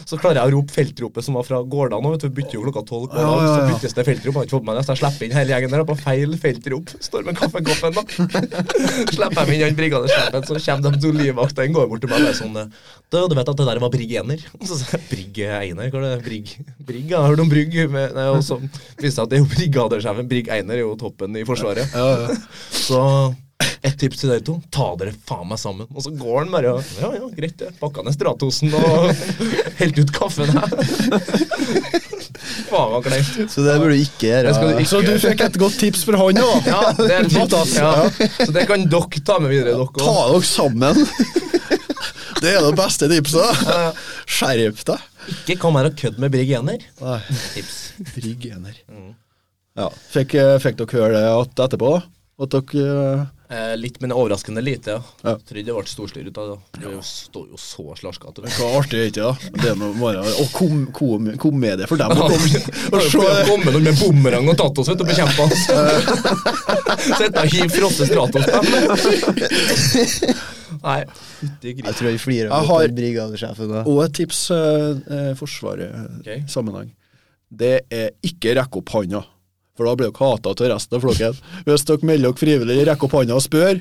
S2: Så klarer jeg å rope feltropet som var fra Gårdane. vet du, Vi bytter jo klokka tolv. på
S3: Ja,
S2: dagen,
S3: ja,
S2: Så
S3: ja.
S2: byttes det feltrop. Jeg Har ikke fått med det, så jeg slipper inn hele gjengen der på feil feltrop. Står med kaffekoppen, da. Slipper jeg inn han brigadesjefen, så kommer de to livvaktene går bort til meg og er sånn Du, du vet at det der var Brigg Ener? Og så sier jeg Brigg Einer, hva er det? Brigg? Brigg, ja, har du noen brygg? Med, nei, og så viser det seg at det er jo brigadesjefen. Brigg Einer er jo toppen i Forsvaret.
S3: Ja, ja.
S2: Så et tips til dere to. Ta dere faen meg sammen. Og så går han bare og Ja, ja, greit, det. Pakka ned Stratosen og helte ut kaffen her. Faen, hva kleint.
S1: Så det burde du ikke gjøre.
S2: Det skal du ikke-
S3: Så du fikk et godt tips fra han òg.
S2: Ja, det er et tips.
S3: Fantastisk.
S2: Ja. Så det kan dere ta med videre, dere også.
S3: Ta dere sammen. Det er det beste tipset. Skjerp deg.
S2: Eh, Ikke kom her og kødd med Brigg Ener.
S3: Nei,
S2: Tips.
S3: Trygg ener. Ja. Fikk, eh, fikk dere høre det at etterpå? At dere eh,
S2: Eh, litt, men overraskende lite. Ja.
S3: Ja.
S2: Trodde det ble storstyr ut av det. Det er jo- står jo så slaskete. vet
S3: Hva artig er ikke det? Det er noe bare, og kom, kom, komedie for dem å komme
S2: du.
S3: og
S2: Prøv å
S3: se.
S2: komme noen med bumerang og tatt oss ut og bekjempe oss. Sett deg og hiv frosse stratos på dem. Nei, fytti
S1: Jeg
S2: gris.
S1: tror jeg flirer
S3: Jeg
S1: av
S3: har-
S1: den brigadesjefen da.
S3: Og et tips eh, eh, Forsvaret-sammenheng.
S2: Ok.
S3: Det er ikke rekke opp handa, for da blir dere hata til resten av flokken. Hvis dere melder dere frivillig, rekker opp handa og spør,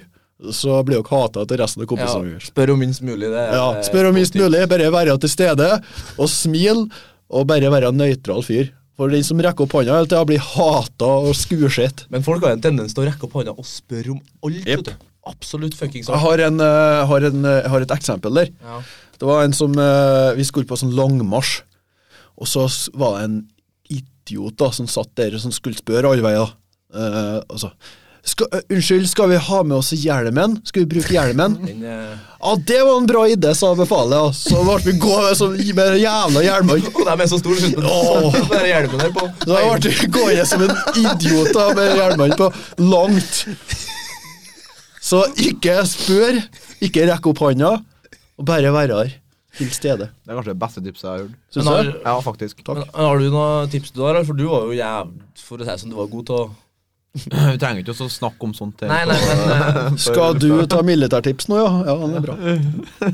S3: så blir dere hata til resten av
S2: Ja,
S3: kompisene deres.
S2: spør om minst mulig. Det er,
S3: Ja, spør om minst mulig, bare være til stede, og smil, og bare være en nøytral fyr. For den som rekker opp hånda hele tida, blir hata og skuesett.
S2: Men folk har en tendens til å rekke opp hånda og spørre om alt.
S3: Jep.
S2: vet du. Absolutt fuckings
S3: Jeg
S2: alt.
S3: har, en, eh, har, en, eh, har et eksempel der.
S2: Ja.
S3: Det var en som eh, Vi skulle på sånn langmarsj, og så s- var det en idiot da som satt der og som skulle spørre alle veier. Eh, og så, skal, eh, unnskyld, skal vi ha med oss hjelmen? Skal vi bruke hjelmen?
S2: Den, eh,
S3: Ja, det var en bra idé, sa befalet. og Så ble vi gående sånn med jævla hjelmene.
S2: og de er så store, slutt med
S3: Åh.
S2: den der hjelmen der på.
S3: Da ble jeg gående som en idiot da, med hjelmene på langt. Så ikke spør, ikke rekk opp handa, og bare vær her. Til stede.
S4: Det er kanskje det beste tipset jeg har hørt.
S2: Men
S3: Syns du?
S2: har-
S4: Ja, faktisk.
S2: Men har du noen tips du har? For du var jo jævlig For å si det sånn, du var god til å
S4: Vi trenger ikke å snakke om sånt.
S2: Nei, nei, men eh,
S3: Skal du ta militærtips nå, ja? Ja, det er bra.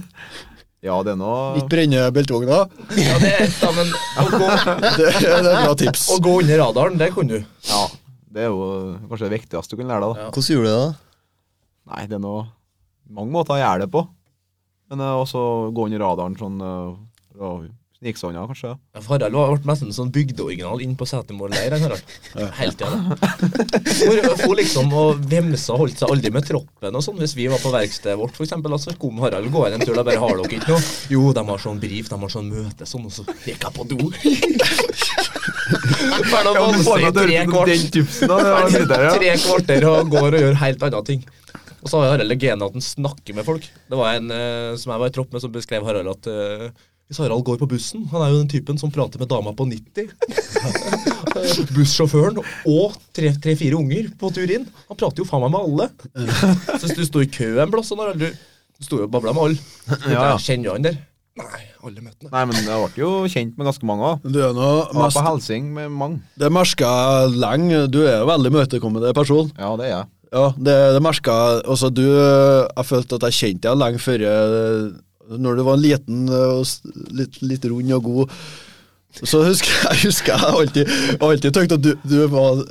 S4: Ja, det er noe
S3: Ikke brenne beltevogna.
S2: Ja, det er ett, da, men å gå,
S3: Det, det er bra tips.
S2: å gå under radaren, det kunne du.
S4: Ja, det er jo kanskje det viktigste du kan lære deg. da.
S2: Ja.
S1: Hvordan gjorde du det, da?
S4: Nei, det er noe mange måter å gjøre det på. Men eh, også gå under radaren sånn eh, og snike seg unna, kanskje.
S2: Ja, for Harald var- ble nesten en sånn bygdeoriginal inn på Setermoen leir. han, Harald. Hele tida. For, for liksom å vemse og holdt seg aldri med troppen og sånn. Hvis vi var på verkstedet vårt, for eksempel, da, så kom Harald gående en tur. Da bare har dere ikke noe? Jo, de har sånn brief, de har sånn møte, sånn, og så gikk jeg på do. Ferdig å valse i tre kvart.
S4: den tipsen, da. Det var
S2: Ferdig
S4: videre, ja.
S2: tre kvarter og går og gjør helt andre ting. Og så har Harald det genet at han snakker med folk. Det var en eh, som jeg var i tropp med, som beskrev Harald at eh, hvis Harald går på bussen Han er jo den typen som prater med dama på 90. Bussjåføren og tre-fire unger på tur inn. Han prater jo faen meg med alle. Så hvis du sto i kø en plass, sånn Harald, du, du sto jo og babla med alle.
S4: Ja, ja.
S2: Kjenner du han der? Nei, alle møtte han.
S4: Nei, men jeg ble jo kjent med ganske mange òg.
S3: Du er nå
S4: Var
S3: mest
S4: på Helsing med mange.
S3: Det merka jeg lenge. Du er jo veldig imøtekommende person.
S4: Ja, det er jeg.
S3: Ja, det, det merka jeg. Altså, du Jeg følte at jeg kjente deg lenge før jeg- Når du var en liten eh, og s- litt, litt rund og god. Så husker jeg, husker jeg alltid, alltid tenkte at du, du var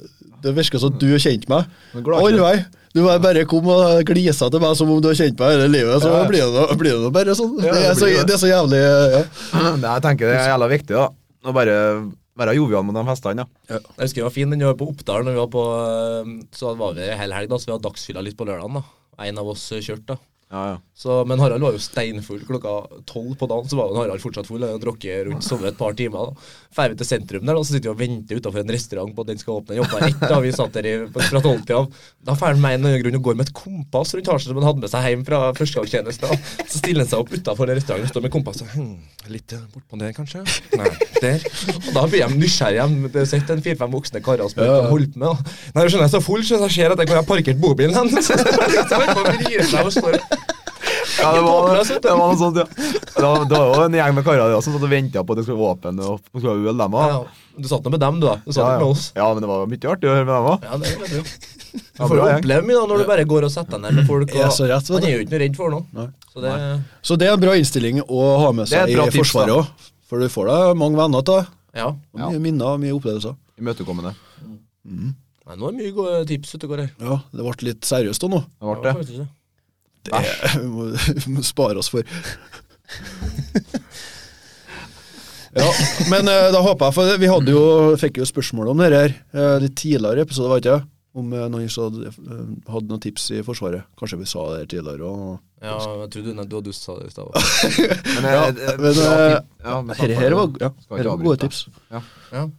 S3: Det virka som du kjente meg.
S4: Men glad ikke.
S3: All vei. Du bare, bare kom og glisa til meg som om du har kjent meg hele livet. Så
S4: Ja, ja.
S3: blir det nå- blir det nå bare sånn.
S4: Ja,
S3: det, er
S4: det
S3: så,
S4: blir det.
S3: det er så jævlig ja.
S4: Nei, jeg tenker det er jævla viktig, da. Å bare være jovial med de festene, ja.
S2: Jeg husker jeg var fin den vi var på Oppdal. når vi var på, eh, Så var vi her hele helg, da, så vi hadde dagsfylla litt på lørdagen. da. En av oss eh, kjørte. da.
S4: Ja, ja.
S2: Så, men Harald var jo steinfull klokka tolv på dagen, så var jo Harald fortsatt full. Han drukket rundt sovet et par timer. da. Drar vi til sentrum der, da, så sitter vi og venter utenfor en restaurant på at den skal åpne. Den Jobba ett, da vi satt der i, fra tolvtida. Da drar han meg en grunn og går med et kompass rundt halsen som han hadde med seg hjem fra førstegangstjeneste. da. Så stiller han seg opp utenfor den restauranten og står med kompasset. Hm, litt eh, bortpå der, kanskje? Nei, der. Og da blir de nysgjerrige. igjen. Det sitter en fire-fem voksne karer og spør hva de holder på med. da. Nei, du skjønner, jeg er så full, så jeg ser at jeg kan ha parkert bobilen hen. Så han vrir seg og står
S4: Ja, det var, det var noe sånt, ja. Det var, det var jo en gjeng med karer der som satt og venta på at det skulle være åpent og de skulle ha øl, dem
S2: Ja,
S4: òg.
S2: ja. Du satt nå med dem, du, da. Du satt
S4: Ja,
S2: ikke med
S4: ja.
S2: oss.
S4: ja, men det var mye artig å høre med dem òg.
S2: Ja, det vet du. Du
S4: Ja,
S2: får jo
S4: bra gjeng.
S2: oppleve mye da når du bare går og setter deg ned med folk. Og,
S3: Ja, så rett, vet du.
S2: han er jo ikke noe redd for noe.
S3: Nei.
S2: Så det,
S3: Så det er en bra innstilling å ha med
S4: Det er
S3: seg
S4: et
S3: i
S4: bra tips,
S3: Forsvaret
S4: da.
S3: òg. For du får deg mange venner av det.
S2: ja.
S3: Og Mye minner og mye opplevelser.
S4: Imøtekommende.
S2: Nei, nå er det mye gode tips ute og går her.
S3: Ja, det ble litt seriøst da nå.
S4: Det ble
S2: Ja,
S4: det.
S2: faktisk det.
S3: Det vi må, vi må spare oss for. Ja, men eh, da håper jeg, for vi hadde jo, fikk jo spørsmål om det her eh, litt tidligere i episode, var det ikke? Om eh, noen som hadde, eh, hadde noen tips i Forsvaret. Kanskje vi sa det her tidligere òg.
S2: Ja, jeg trodde du, nei, du hadde dust sa det i stad.
S4: Men,
S3: Ja,
S4: eh, eh,
S3: men,
S4: bra
S3: eh,
S4: tip- ja, men
S3: Dette her var, ja,
S4: Skal ikke
S3: her var
S4: avbryte.
S3: gode tips.
S2: Ja,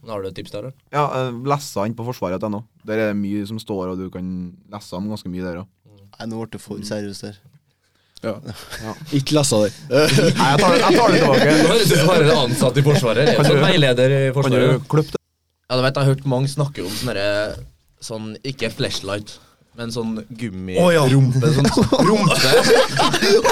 S2: da har du et tips der, da.
S4: Ja, eh, lesse inn på forsvaret.no. Der er det mye som står, og du kan lese om ganske mye der òg.
S1: Nei, nå ble det for seriøst her.
S3: Ikke lese det. Eh,
S4: Nei, jeg tar, det- jeg tar det
S2: Nå
S4: tilbake.
S2: høres det ut som Harald er ansatt i Forsvaret. Jeg er sånn veileder i
S4: Kan
S2: Forsvaret.
S4: du klippe det?
S2: Ja, du vet, jeg har hørt mange snakke om sånne derre- Sånn, ikke flashlight, men sånn gummi...
S3: Å, ja.
S2: Rumpe, sånn rumpe.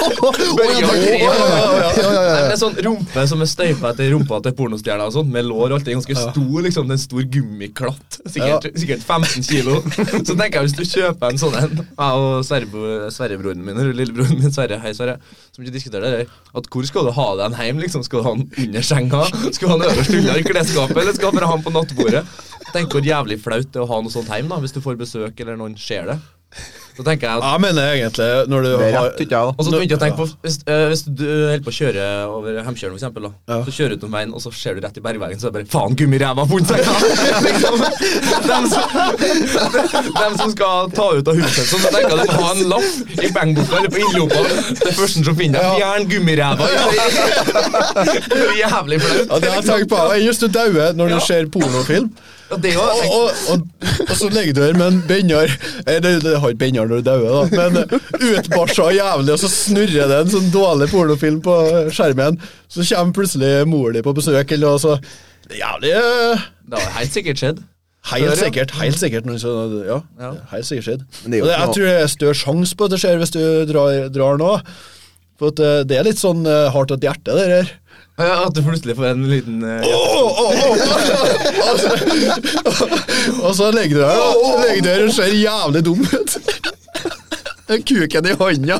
S2: Børge har tre år. Nei, men det er sånn rumpe som er støypa etter rumpa til pornostjerna og sånn, med lår og alt. Det er ganske stor, liksom. Det er en stor gummiklatt. Sikkert, sikkert 15 kilo. Så tenker jeg, hvis du kjøper en sånn en Jeg og Sverre- Sverrebroren min, eller lillebroren min, Sverre, hei Sverre, som ikke diskuterer det der, at hvor skal du ha den hjem, liksom? Skal du ha den under senga? Skal du ha den øverst unna i klesskapet, eller skal du bare ha den på nattbordet? Tenk hvor jævlig flaut det er å ha noe sånt hjem, da, hvis du får besøk eller noen ser det. Så tenker jeg at
S3: Jeg mener egentlig når du
S4: Det er
S3: har
S4: rett, ikke jeg, da.
S2: og så begynte jeg å tenke på Hvis, øh, hvis du holder på å kjøre over Hemkjølen, for eksempel, da,
S3: Ja.
S2: så kjører du utom veien, og så ser du rett i bergveggen, så er det bare Faen, gummiræva har funnet seg! da!» liksom, dem, som, dem som skal ta ut av huset, så tenker jeg de må ha en lapp i bankboka eller på innlompa. Det første som finner deg, fjern gummiræva! Det er jævlig flaut.
S3: Ja, det har jeg tenkt på. Just du dauer når du
S2: Ja.
S3: ser pornofilm.
S2: Og det er
S3: og,
S2: jo-
S3: og, og, og så legger du her med en benjar Eh, Det, det har ikke benjar når du dauer, da, men eh, utbarsa jævlig, og så snurrer det en sånn dårlig pornofilm på skjermen. Så kommer plutselig mor di på besøk, eller og så altså, det er Jævlig eh,
S2: Det har helt sikkert skjedd.
S3: Helt
S4: Før, ja.
S3: sikkert. helt sikkert noen som- ja,
S4: Ja.
S3: helt sikkert skjedd.
S4: Men det er jo
S3: Og det,
S4: ikke
S3: jeg
S4: noe-
S3: tror det er større sjanse på at det skjer hvis du drar, drar nå. For at eh, det er litt sånn eh, hardt at hjertet, det der.
S2: Ja, At du plutselig får en liten eh,
S3: Og så legger du deg og legger du deg og ser jævlig dum ut. Den kuken i hånda.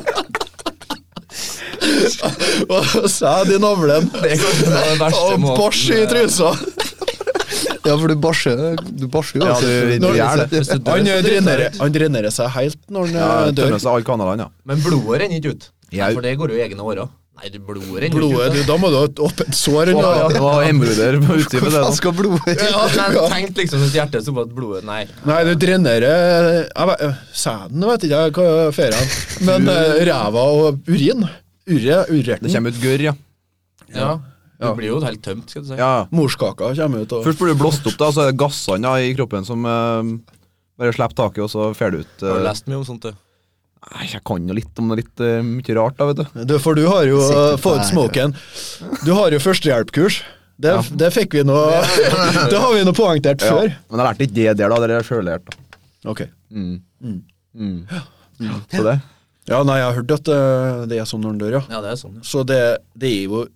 S3: Og sæd i navlen.
S2: Det er kanskje den verste
S3: Og
S2: måten,
S3: bæsj i
S2: eh,
S3: trusa.
S1: Ja, for du basjer du basjer jo.
S4: Ja,
S1: altså.
S4: du- du gjør det.
S2: Hvis du dør,
S3: Han
S2: så drikker du
S3: drenerer,
S2: ut.
S3: han drenerer seg helt når han
S4: Ja,
S3: eh, dør.
S4: Tømmer seg alle kanalene, ja.
S2: Men blodet renner ikke ut. Nei,
S4: Jeg-
S2: for det går jo i egne årer. Nei, det blodet renner
S3: Blodet, du,
S2: ikke ut.
S3: da må du ha et åpent sår.
S4: Det var-
S3: Eller?
S4: Det var emroder på utsiden på det.
S1: Faen
S4: da.
S1: skal blodet
S2: Ja, men tenk liksom hvis hjertet sto på at blodet Nei.
S3: Nei, du drenerer jeg vet, Sæden vet ikke jeg hva fører han. Men eh, ræva og urin. Urre,
S4: Det
S3: urerten.
S4: kommer ut gørr, ja.
S2: Ja. Du blir jo helt tømt, skal du si.
S4: ja. ja.
S3: Morskaka kommer ut. Og,
S4: Først blir du blåst opp, da, og så er det gassene da, i kroppen som eh, bare slipper taket, og så fer du ut.
S2: Har du
S4: eh,
S2: lest mye om sånt, du?
S4: Nei, jeg kan jo litt om det litt eh, mye rart, da, vet du.
S3: du, for du har jo eh,
S1: Sitter på
S3: fått
S1: her.
S3: smoken. Du har jo førstehjelpkurs. Det, det fikk vi nå Det har vi nå poengtert
S4: Ja.
S3: før.
S4: Men jeg lærte ikke det der, da. Det er sjøllært. da.
S3: Ok.
S2: Mm.
S4: Så det.
S3: Ja, nei, jeg har hørt at eh, det er sånn når han dør, ja.
S2: Ja, det er sånn.
S3: Så det, det er jo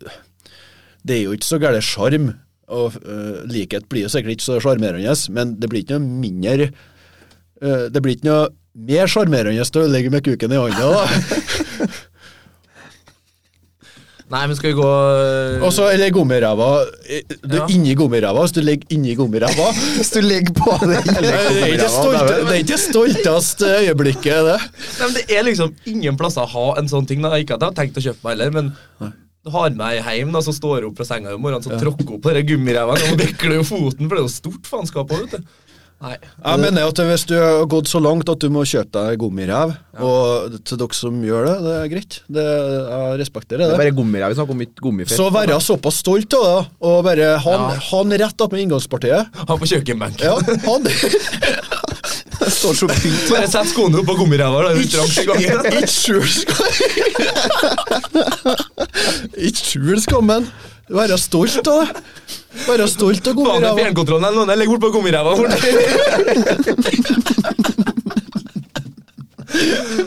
S3: Det er jo ikke så gæren sjarm. Og eh, likhet blir jo sikkert ikke så sjarmerende, men det blir ikke noe mindre eh, Det blir ikke noe mer sjarmerende til å ligge med kuken i hånda. da.
S2: Nei, men skal vi gå eh,
S3: Og så eller gummiræva. eh, Du
S2: Ja.
S3: inni gummiræva, hvis du ligger inni gummiræva.
S1: Hvis du legger på deg
S3: Det er ikke stolt- det er ikke det stolteste øyeblikket, det.
S2: Nei, men Det er liksom ingen plasser å ha en sånn ting. da Ikke at jeg har tenkt å kjøpe meg heller, men du har meg hjem da, så står jeg opp fra senga i morgen så tråkker opp på den gummiræva og bekler jo foten, for det er jo stort faenskap òg, vet du. Nei.
S3: Jeg mener at hvis du har gått så langt at du må kjøpe deg gummiræv, og til dere som gjør det, det er greit. Det, jeg
S4: Det
S3: respekterer
S4: er
S3: det.
S4: bare gummirev. Vi snakker om mitt gummifett.
S3: Så være såpass stolt av det, da, og bare han,
S2: Ja.
S3: han rett opp med inngangspartiet.
S2: Ha på kjøkkenbenken.
S3: Ja, han
S1: står så pynt.
S2: Bare sett skoene opp på gummiræva. da, rundt langs i gangen.
S3: Ikke skjul skammen! Ikke skjul skammen! Være stolt av det. Være stolt av
S2: Faen, det er
S3: gummiræva.
S2: fjernkontrollen eller noe. Jeg legger bort på gummiræva. bort.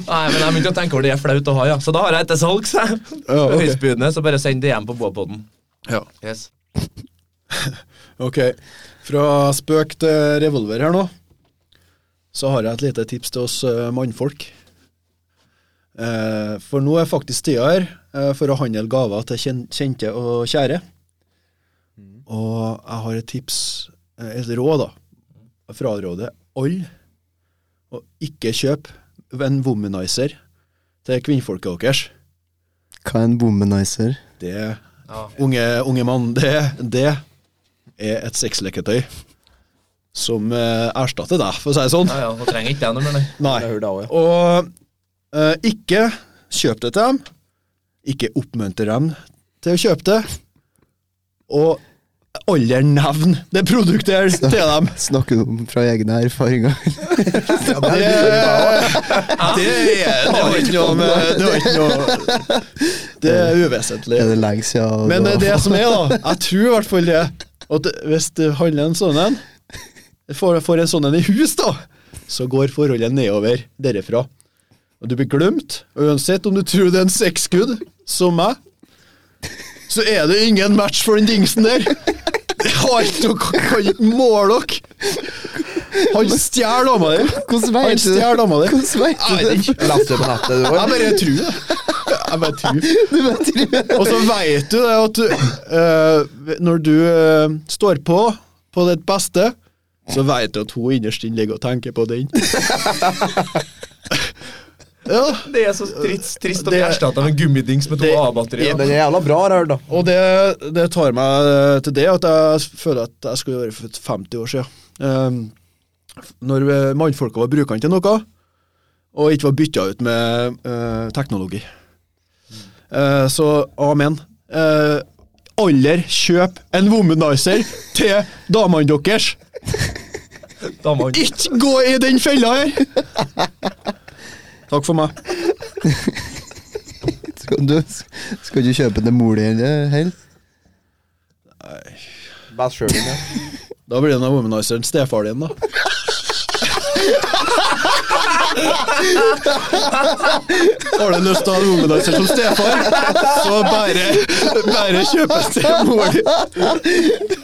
S2: Nei, men jeg begynte å tenke over det er flaut å ha, ja. Så da har jeg et til salgs, jeg.
S3: Ja, ok.
S2: Høystbydende, så bare send DM på Båpodden.
S3: Ja,
S2: Yes.
S3: ok. Fra spøk til revolver her nå, så har jeg et lite tips til oss eh, mannfolk. Eh, For nå er faktisk tida her eh, for å handle gaver til kjen- kjente og kjære. Og jeg har et tips, eh, et råd, da. Jeg fraråder alle å ikke kjøpe en womanizer til kvinnfolket deres.
S1: Hva er en womanizer?
S3: Det,
S2: Ja.
S3: unge, unge mann, det, det er et sexleketøy som eh, erstatter deg, for å si det sånn.
S2: Ja, ja, nå trenger jeg ikke det noe mer, nei.
S3: Nei.
S4: Jeg hører det også, ja.
S3: Og eh, ikke kjøp det til dem. Ikke oppmuntre dem til å kjøpe det. Og aldri nevn det produktet her til dem.
S1: Snakker du om fra egne erfaringer?
S3: Det, det, er- det har ikke noe med Det, har ikke noe, det er uvesentlig.
S1: Er det lenge siden?
S3: Men eh, det,
S1: da?
S3: er det som er, da Jeg tror i hvert fall det. At hvis du handler en sånn en, får, får en sånn en i hus, da, så går forholdet nedover derifra. Og du blir glemt. Og uansett om du tror det er en sexskudd, som meg, så er det ingen match for den dingsen der. Jeg har ikke noe Kan ikke måle dere. Han stjeler dama di.
S1: Hvordan
S3: Han
S1: vet du det?
S3: stjeler dama di.
S1: Hvordan vet du
S3: Jeg vet
S1: det?
S3: ikke.
S4: Leste det på nettet, du
S3: Jeg
S4: òg?
S3: bare tror det. Jeg bare tror. Og så veit du det at du, eh, når du eh, står på på ditt beste, så veit du at hun innerst inne ligger og tenker på den. ja,
S2: Det er så trist, trist å bli
S3: Det-
S2: erstatta med en gummidings med to
S3: det-
S2: A-batterier.
S4: Den er jævla bra, har jeg hørt, da.
S3: og det, det tar meg eh, til det at jeg føler at jeg skulle vært født 50 år siden. Eh, når eh, mannfolka var brukerne til noe, og ikke var bytta ut med eh, teknologi. Eh, så amen. Uh, Aller kjøp en womanizer til damene deres!
S2: Damene.
S3: Ikke gå i den fella her! Takk for meg.
S1: Skal du, skal du eh, kjøpe den til mor di heller?
S4: Best sjøl, ja.
S3: Da blir den womanizeren stefaren din, da. Har du lyst til å ha en womanizer som stefar, så bare, bare kjøpes det mor di.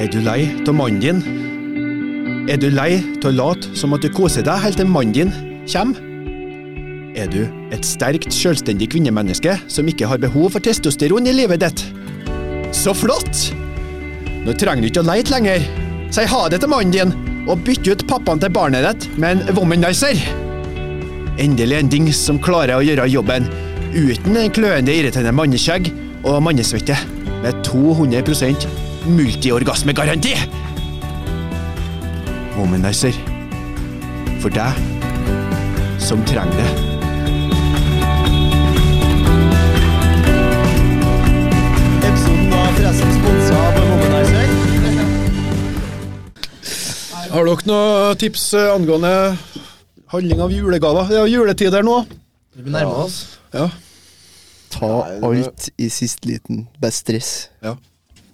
S3: Er du lei av mannen din? Er du lei av å late som at du koser deg helt til mannen din kommer? Er du et sterkt, selvstendig kvinnemenneske som ikke har behov for testosteron i livet ditt? Så flott! Nå trenger du ikke å leite lenger. Si ha det til mannen din, og bytt ut pappaen til barnet ditt med en womanizer. Endelig en dings som klarer å gjøre jobben uten en kløende, irriterende manneskjegg og mannesvette med 200 multiorgasmegaranti. Womanizer. For deg som trenger det.
S1: Episoden var forresten sponsa av Womanizer.
S3: Har dere noen tips eh, angående handling av julegaver? Det er jo juletider nå.
S2: Vi nærmer oss.
S3: Ja.
S1: Ta alt i siste liten. Bare stress.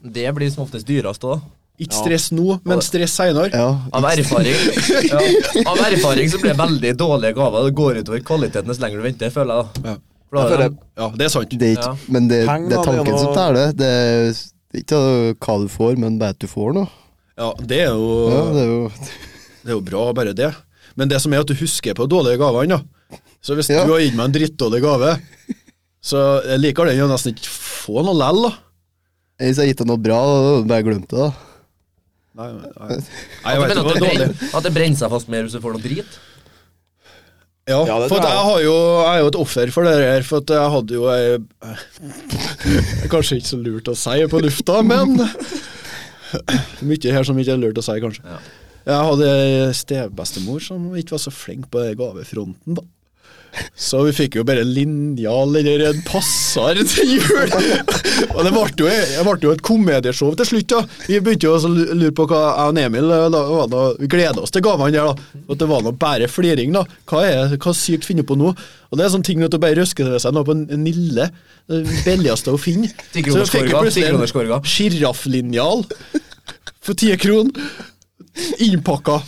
S2: Det blir som oftest dyrest òg.
S3: Ikke stress nå, men stress seinere.
S1: Ja.
S2: Av erfaring ja. Av erfaring så blir det veldig dårlige gaver. Det går utover kvaliteten dess lenger du venter, føler jeg. da.
S3: Ja.
S2: For da er
S4: føler-
S2: de-
S3: Ja, det er sant.
S1: Det er ikke,
S2: Ja.
S1: Men det,
S4: Penger,
S1: det er
S4: det er
S1: tanken
S4: noe-
S1: som teller. Det er det er ikke hva du får, men bare at du får noe.
S3: Ja, det er jo,
S1: Ja, det er jo
S3: det er jo bra, bare det. Men det som er at du husker på dårlige gavene, da. Så hvis
S1: Ja.
S3: du har gitt meg en drittdårlig gave, så jeg liker den jo nesten ikke få noe lell, da.
S1: Hvis jeg har gitt deg noe bra, da hadde du bare glemt det, da.
S3: Nei, nei. Nei, jeg
S2: At det,
S3: vet
S2: men
S3: det
S2: at,
S3: var
S2: det
S3: dårlig.
S2: brenner, at det brenner seg fast mer hvis du får noe drit.
S3: Ja,
S4: det
S3: for
S4: tror
S3: at
S4: jeg.
S3: jeg, har jo, jeg er jo et offer for det her, for at jeg hadde jo ei Kanskje ikke så lurt å si på lufta, men Mye her som ikke er lurt å si, kanskje.
S2: Ja.
S3: Jeg hadde ei stebestemor som ikke var så flink på den gavefronten, da. Så vi fikk jo bare linjal eller en passar til jul. Og det ble jo, det ble jo et komedieshow til slutt, da. Vi begynte jo å lure på hva jeg og Emil eh, da, var da, Vi gleda oss til gavene der, da. At det var nå bare fliring, da. Hva er hva sykt finner på nå? Og det er sånne ting at du bare røsker ved seg noe på en en Nille. Det billigste å finne. Så vi fikk jo
S2: Tikronerskorga,
S3: plutselig
S2: tikronerskorga.
S3: en sjirafflinjal for ti kroner. Innpakka.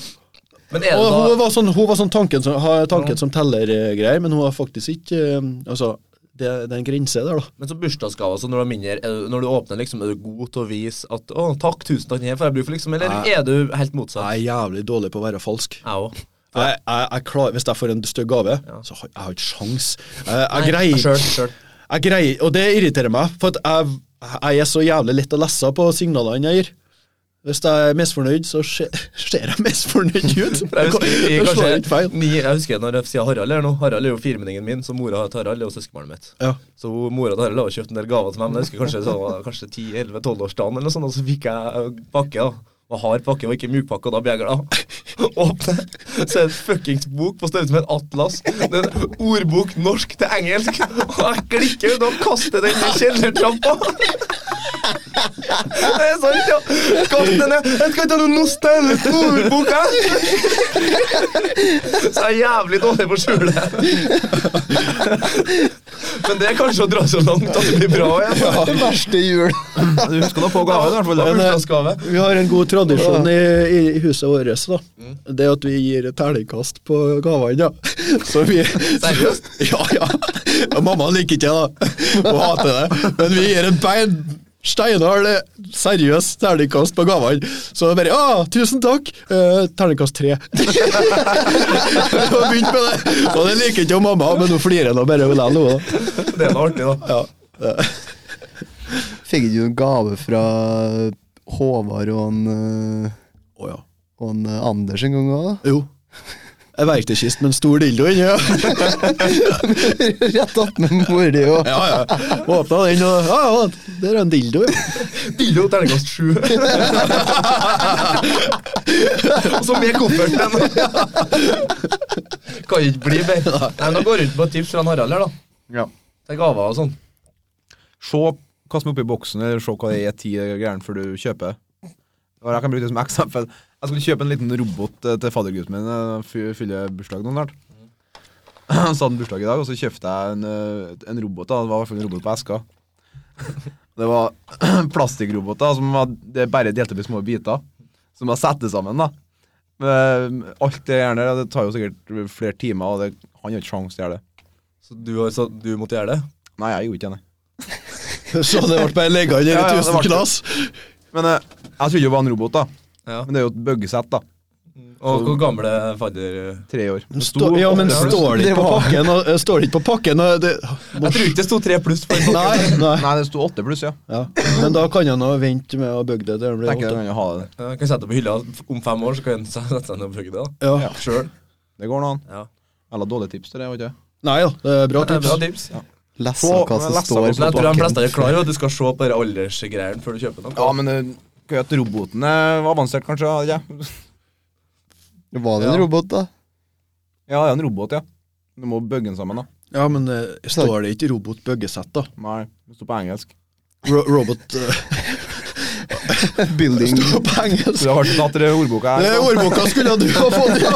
S2: Men er det
S3: Og hun
S2: da
S3: var sånn, hun var sånn tanken som, har tanken som teller-greier, men hun har faktisk ikke eh, Altså, det, det er en grense der, da.
S2: Men som bursdagsgave, altså, når du er mindre, er du, når du åpner, liksom, er du god til å vise at 'Å, takk, tusen takk, den her får jeg bruk for', liksom? Eller
S3: Nei.
S2: er du helt motsatt?
S3: Jeg er jævlig dårlig på å være falsk.
S2: Jeg òg.
S3: Jeg, jeg, jeg klar, hvis jeg får en stygg gave, så har jeg har ikke sjans. Jeg, jeg, greier,
S2: Sjøl, sjøl.
S3: jeg greier Og det irriterer meg, for at jeg, jeg er så jævlig lett å lese på signalene jeg gir. Hvis jeg er misfornøyd, så se- ser jeg misfornøyd ut.
S2: For jeg husker, i,
S3: Jeg slår ikke
S2: kanskje,
S3: feil.
S2: ni, jeg husker når jeg sier Harald her nå. Harald er jo firmenningen min, så mora til Harald er jo søskenbarnet mitt.
S3: Ja.
S2: Så mora til Harald har jo kjøpt en del gaver til meg, men jeg husker kanskje, så, var det kanskje 10-11-12-årsdagen eller noe sånt, og så fikk jeg eh, pakke. da. Og hard pakke, og ikke mjukpakke, og da blir jeg glad. Åpne, så er det en fuckings bok på størrelse med en atlas. Det er en ordbok norsk til engelsk. Og jeg klikker ut og kaster den i kjellertrappa. Det er sant, ja. Kast den ned. Jeg skal ikke ha noen nostalgisk ordbok, jeg. Så jeg er jævlig dårlig på å skjule det. Men det er kanskje å dra så langt at det blir bra igjen.
S1: Det verste jul.
S4: Du husker da på gaven, i hvert fall.
S2: Det er
S4: da.
S2: bursdagsgave.
S3: eh, Vi har en god tradisjon i, i huset vårt, da. Det at vi gir terningkast på gavene, da. Så vi
S2: Seriøst?
S3: Ja, ja. Ja, Mamma liker ikke det, da. Hun hater det. Men vi gir en bein steinhard, seriøs terningkast på gavene. Så det bare Å, tusen takk! Eh, terningkast tre. Hun har begynt med det. Og det liker ikke mamma, men hun flirer nå bare likevel, hun. da.
S2: Det er noe artig, da.
S3: Ja.
S1: Fikk du en gave fra Håvard og han, eh,
S3: Å, ja.
S1: og han eh, Anders en gang òg, da?
S3: Jo. En verktøykiste med en stor dildo inni. Ja.
S1: Rett attmed mor di og
S3: Ja, ja. Åpna den, og ja, ja, der er en dildo.
S2: Dillo terningkast sju. Og så med kofferten. kan ikke bli bedre. Nei, men Da går jeg rundt på et tips fra han Harald her, da.
S4: Ja.
S2: Til gaver og sånn.
S4: Se, kast meg oppi boksen, eller se hva det er ti greier før du kjøper. Og Jeg kan bruke det som eksempel. Jeg skulle kjøpe en liten robot eh, til faddergutten min. eh, fy- Fyller bursdagen hans snart. Så hadde han bursdag i dag, og så kjøpte jeg en, eh, en robot. da, Det var i hvert fall en robot på eska. Det var plastikkroboter som var, det er bare delte opp i små biter. Som var satt sammen, da. Men, eh, alt det gjerne, det tar jo sikkert flere timer, og det, han har ikke sjans til å gjøre det.
S2: Så du, har- så du måtte gjøre det?
S4: Nei, jeg gjorde ikke det, nei.
S3: Så det ble bare legga under
S4: Ja, ja,
S3: i
S4: det
S3: tusen
S4: ble det.
S3: knas.
S4: Men eh, jeg trodde jo det var en robot, da.
S2: Ja.
S4: Men det er jo et bøggesett, da.
S2: Og hvor gamle fadder
S4: Tre år.
S3: Stå, ja, men
S2: Sto-
S3: står det ikke på pakken? Og, eh, står det ikke på pakken og det,
S2: Jeg tror ikke det sto tre pluss på en
S3: Nei, nei.
S4: Nei, det sto åtte pluss, ja.
S3: Ja. Men da kan han jo vente med å bygge det til han blir
S4: Tenker jeg
S3: åtte.
S4: kan jo ha det.
S2: Jeg kan sette det på hylla om fem år, så kan jeg sette seg ned og bruke det. da.
S3: Ja.
S2: Selv.
S4: Det går nå an.
S2: Ja.
S4: Eller dårlig tips til det, var ikke det?
S3: Nei ja, det er bra
S2: Det er
S3: tips.
S2: bra tips.
S1: Lessa
S4: Få-
S1: hva som
S4: lessa
S1: står
S4: hva
S2: Men
S1: på
S4: som
S2: jeg tror de
S1: pakken.
S2: fleste er klar over at du skal se på de aldersgreiene før du kjøper noe.
S4: Ja, men eh, at roboten er avansert, kanskje? Ja,
S1: Var det en
S2: Ja.
S1: robot, da?
S4: ja det er en robot, ja. Du må bygge den sammen, da.
S3: Ja, men eh, står det ikke robot byggesett, da?
S4: Nei, det står på engelsk.
S3: Ro robot eh,
S1: Building
S3: står på engelsk.
S4: Så det har ikke tatt det ordboka
S3: Det
S4: her.
S3: er ordboka skulle du ha fått, ja!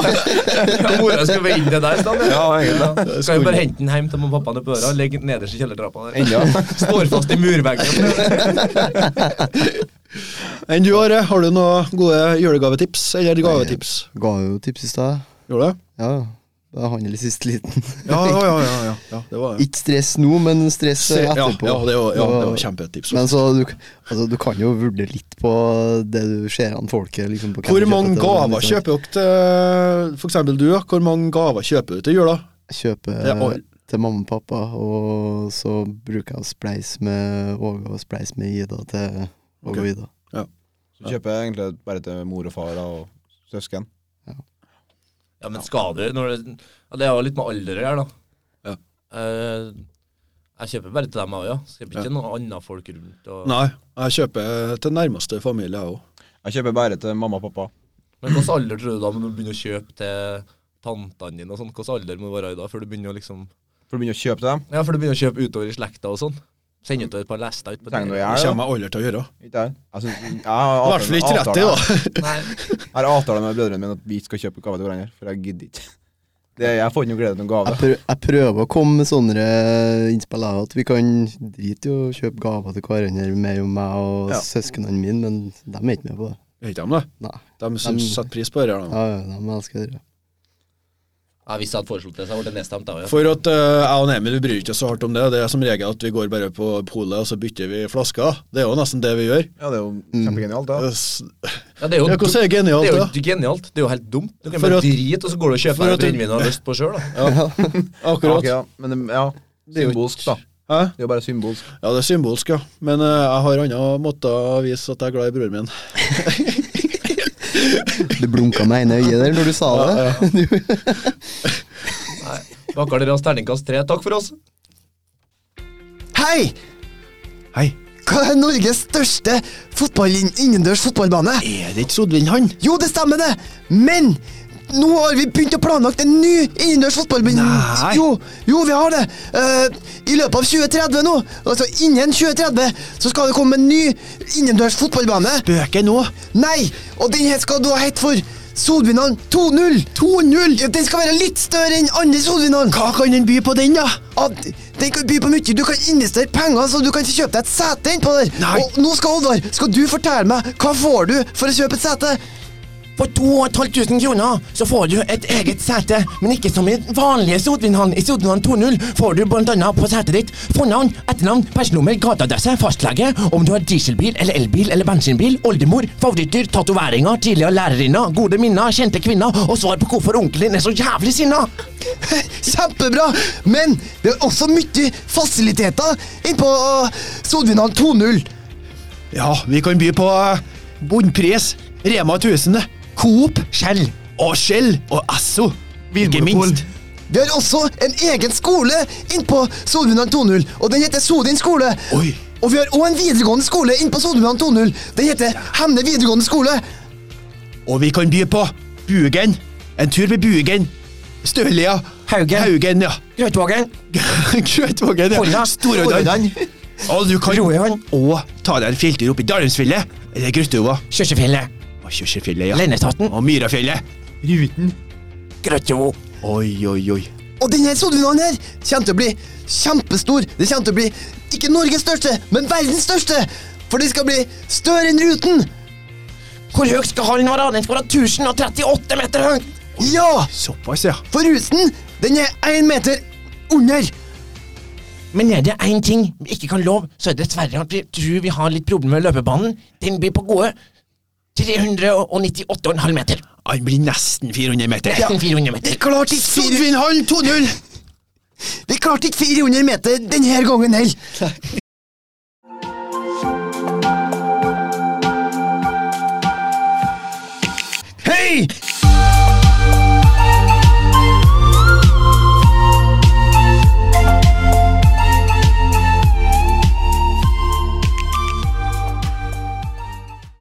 S2: Ja, Mora skal være inne der i stedet.
S4: Ja, egentlig.
S2: Ja. Skal vi bare hente den hjem til mamma og pappa på øra? Legg den nederst i kjellertrappa der.
S4: Enda.
S2: Står fast i murveggen.
S3: Enn du, Are, har du noen gode julegavetips? Eller gavetips?
S1: Ga jo tips i stad.
S3: Gjorde du?
S1: Ja, ja. Det er handel i siste liten.
S3: Ja, ja, ja. ja, ja. ja det var det.
S1: Ikke stress nå, men stress
S3: Se- Ja, ja,
S1: etterpå.
S3: det var, ja, det var
S1: Det var-
S3: kjempetips.
S1: Men så, du, altså, du kan jo vurdere litt på det du ser an folket liksom, på
S3: Hvor
S1: hvem du
S3: mange
S1: kjøper til, og
S3: gaver
S1: liksom,
S3: kjøper dere til For eksempel du, ja. Hvor mange gaver kjøper du til jula?
S1: Kjøper
S3: Det er all-
S1: til mamma og pappa, og så bruker jeg å spleise med Åge og spleise med Ida til Åge og
S3: Ok.
S1: Ida.
S4: Så kjøper jeg egentlig bare til mor og far og søsken.
S2: Ja, men skader når det, ja, det er jo litt med alder å gjøre, da.
S3: Ja.
S2: Eh, jeg kjøper bare til dem, jeg òg. Ja. Så det blir ikke noe annet folk rundt. Og...
S3: Nei, jeg kjøper til nærmeste familie, jeg òg.
S4: Jeg kjøper bare til mamma og pappa.
S2: Men hvilken alder tror du da må du begynne å kjøpe til tantene dine og sånn? Hvilken alder må du være i da før du begynner å liksom
S4: For å begynne å kjøpe til dem.
S2: Ja, før du begynner å kjøpe utover i slekta og sånn? Send ut et par lester ut på
S4: Trenger du å
S3: Det
S4: gjøre det?
S3: kommer jeg aldri til å gjøre.
S4: Ikke jeg. Jeg synes- jeg
S3: I
S4: har
S3: hvert fall ikke
S4: avtale-
S3: 30, da.
S2: Nei.
S4: Jeg har avtale med brødrene mine at vi ikke skal kjøpe gaver til hverandre, for jeg gidder ikke. Det, jeg får ikke noe glede av noen gave.
S1: Jeg, prø- jeg prøver å komme med sånne innspill jeg, at vi kan drite i å kjøpe gaver til hverandre, mer om meg og
S4: Ja.
S1: søsknene mine, men de er ikke med på det.
S3: Er ikke de det?
S1: Nei.
S3: De syns
S1: De-
S3: setter pris på det. her, da.
S1: Ja, ja, de elsker det.
S2: Ja, hvis jeg hadde foreslått det, så ble det nedstemt. da, Ja.
S3: For at eh, jeg og Emil vi bryr ikke oss så hardt om det. Det er som regel at vi går bare på polet og så bytter vi flasker. Det er jo nesten det vi gjør.
S4: Ja, det er jo kjempegenialt,
S3: Ja,
S4: da.
S2: Ja, det er jo,
S3: hvordan er det
S2: det er
S3: genialt,
S2: jo
S3: da?
S2: ikke genialt. Det er jo helt dumt. Du kan
S3: For
S2: bare
S3: at-
S2: drite, og så går du og
S3: for
S2: kjøper deg
S3: at-
S2: brennevin du har lyst på sjøl.
S4: Ja,
S3: Akkurat.
S4: ok, ja. Men ja, symbolsk, da.
S3: Hæ?
S4: Det er jo bare symbolsk.
S3: Ja, det er symbolsk, ja. Men eh, jeg har andre måter å vise at jeg er glad i broren min.
S1: Du blunka med ene øyet der når du sa det.
S2: Baker dere oss terningkast tre. Takk for oss.
S1: Hei!
S3: Hei.
S1: Hva er Norges største fotball- innendørs fotballbane?
S3: Er det ikke Sodvin han?
S1: Jo, det stemmer det! Men nå har vi begynt å planlagt en ny innendørs fotballbane.
S3: Nei.
S1: Jo, jo, vi har det. Eh, I løpet av 2030 nå, altså innen 2030, så skal det komme en ny innendørs fotballbane.
S3: Bøker nå?
S1: Nei, og den her skal du ha hett for Solvinalen 2-0. 2-0? Ja, den skal være litt større enn andre Solvinalen.
S3: Hva kan den by på den, da?
S1: Ja, den kan by på mye. Du kan investere penger, så du kan kjøpe deg et sete innpå der.
S3: Nei.
S1: Og nå skal Oddvar, skal du fortelle meg hva får du for å kjøpe et sete?
S5: For 2500 kroner så får du et eget sete, men ikke som i den vanlige Sodvinhallen. I Sodvinhallen 2.0 får du bl.a. på setet ditt fornavn, etternavn, personnummer, gateadresse, fastlege, om du har dieselbil eller elbil eller bensinbil, oldemor, favorittdyr, tatoveringer, tidligere lærerinner, gode minner, kjente kvinner og svar på hvorfor onkelen din er så jævlig sinna.
S1: Kjempebra! Men det er også mye fasiliteter eh, innpå Solvinhallen 2.0.
S3: Ja, vi kan by på eh, Bondpris, Rema 1000, Coop, Shell og Shell og Esso. Ikke minst.
S1: Vi har også en egen skole innpå Solvinhallen 2.0, og den heter Sodin skole.
S3: Oi.
S1: Og vi har òg en videregående skole innpå Solvinhallen 2.0. Den heter Hemne videregående skole.
S3: Og vi kan by på Bugen. En tur ved Bugen. Stølia.
S5: Haugen.
S3: Haugen, ja.
S5: Grøtvågen,
S3: Grøtvågen, ja.
S5: Hordaland.
S3: Storådland. Og du kan
S5: Roøyan,
S3: òg ta deg en fjelltur opp i Dalmsfjellet. Eller Grøtova.
S5: Kjørsefjellet,
S3: Og Kjørsefjellet, ja.
S5: Lennestaten,
S3: Og Myrafjellet.
S5: Grøtjo.
S3: Oi, oi, oi.
S1: Og denne sodvinalen her kommer til å bli kjempestor. Det kommer til å bli ikke Norges største, men verdens største. For det skal bli større enn Ruten.
S5: Hvor høy skal hallen være? Den skal være 1038 meter høy.
S1: Ja,
S3: Såpass, ja.
S1: for Ruten, den er én meter under.
S5: Men er det én ting vi ikke kan love, så er det dessverre at vi tror vi har litt problemer med løpebanen. Den blir på gode 398,5 meter.
S3: Han blir nesten 400 meter.
S5: Nesten 400 meter.
S1: Klart ikke fire-
S3: Sodvinhallen 2-0!
S1: Vi klarte ikke 400 meter denne gangen heller.
S3: Hei!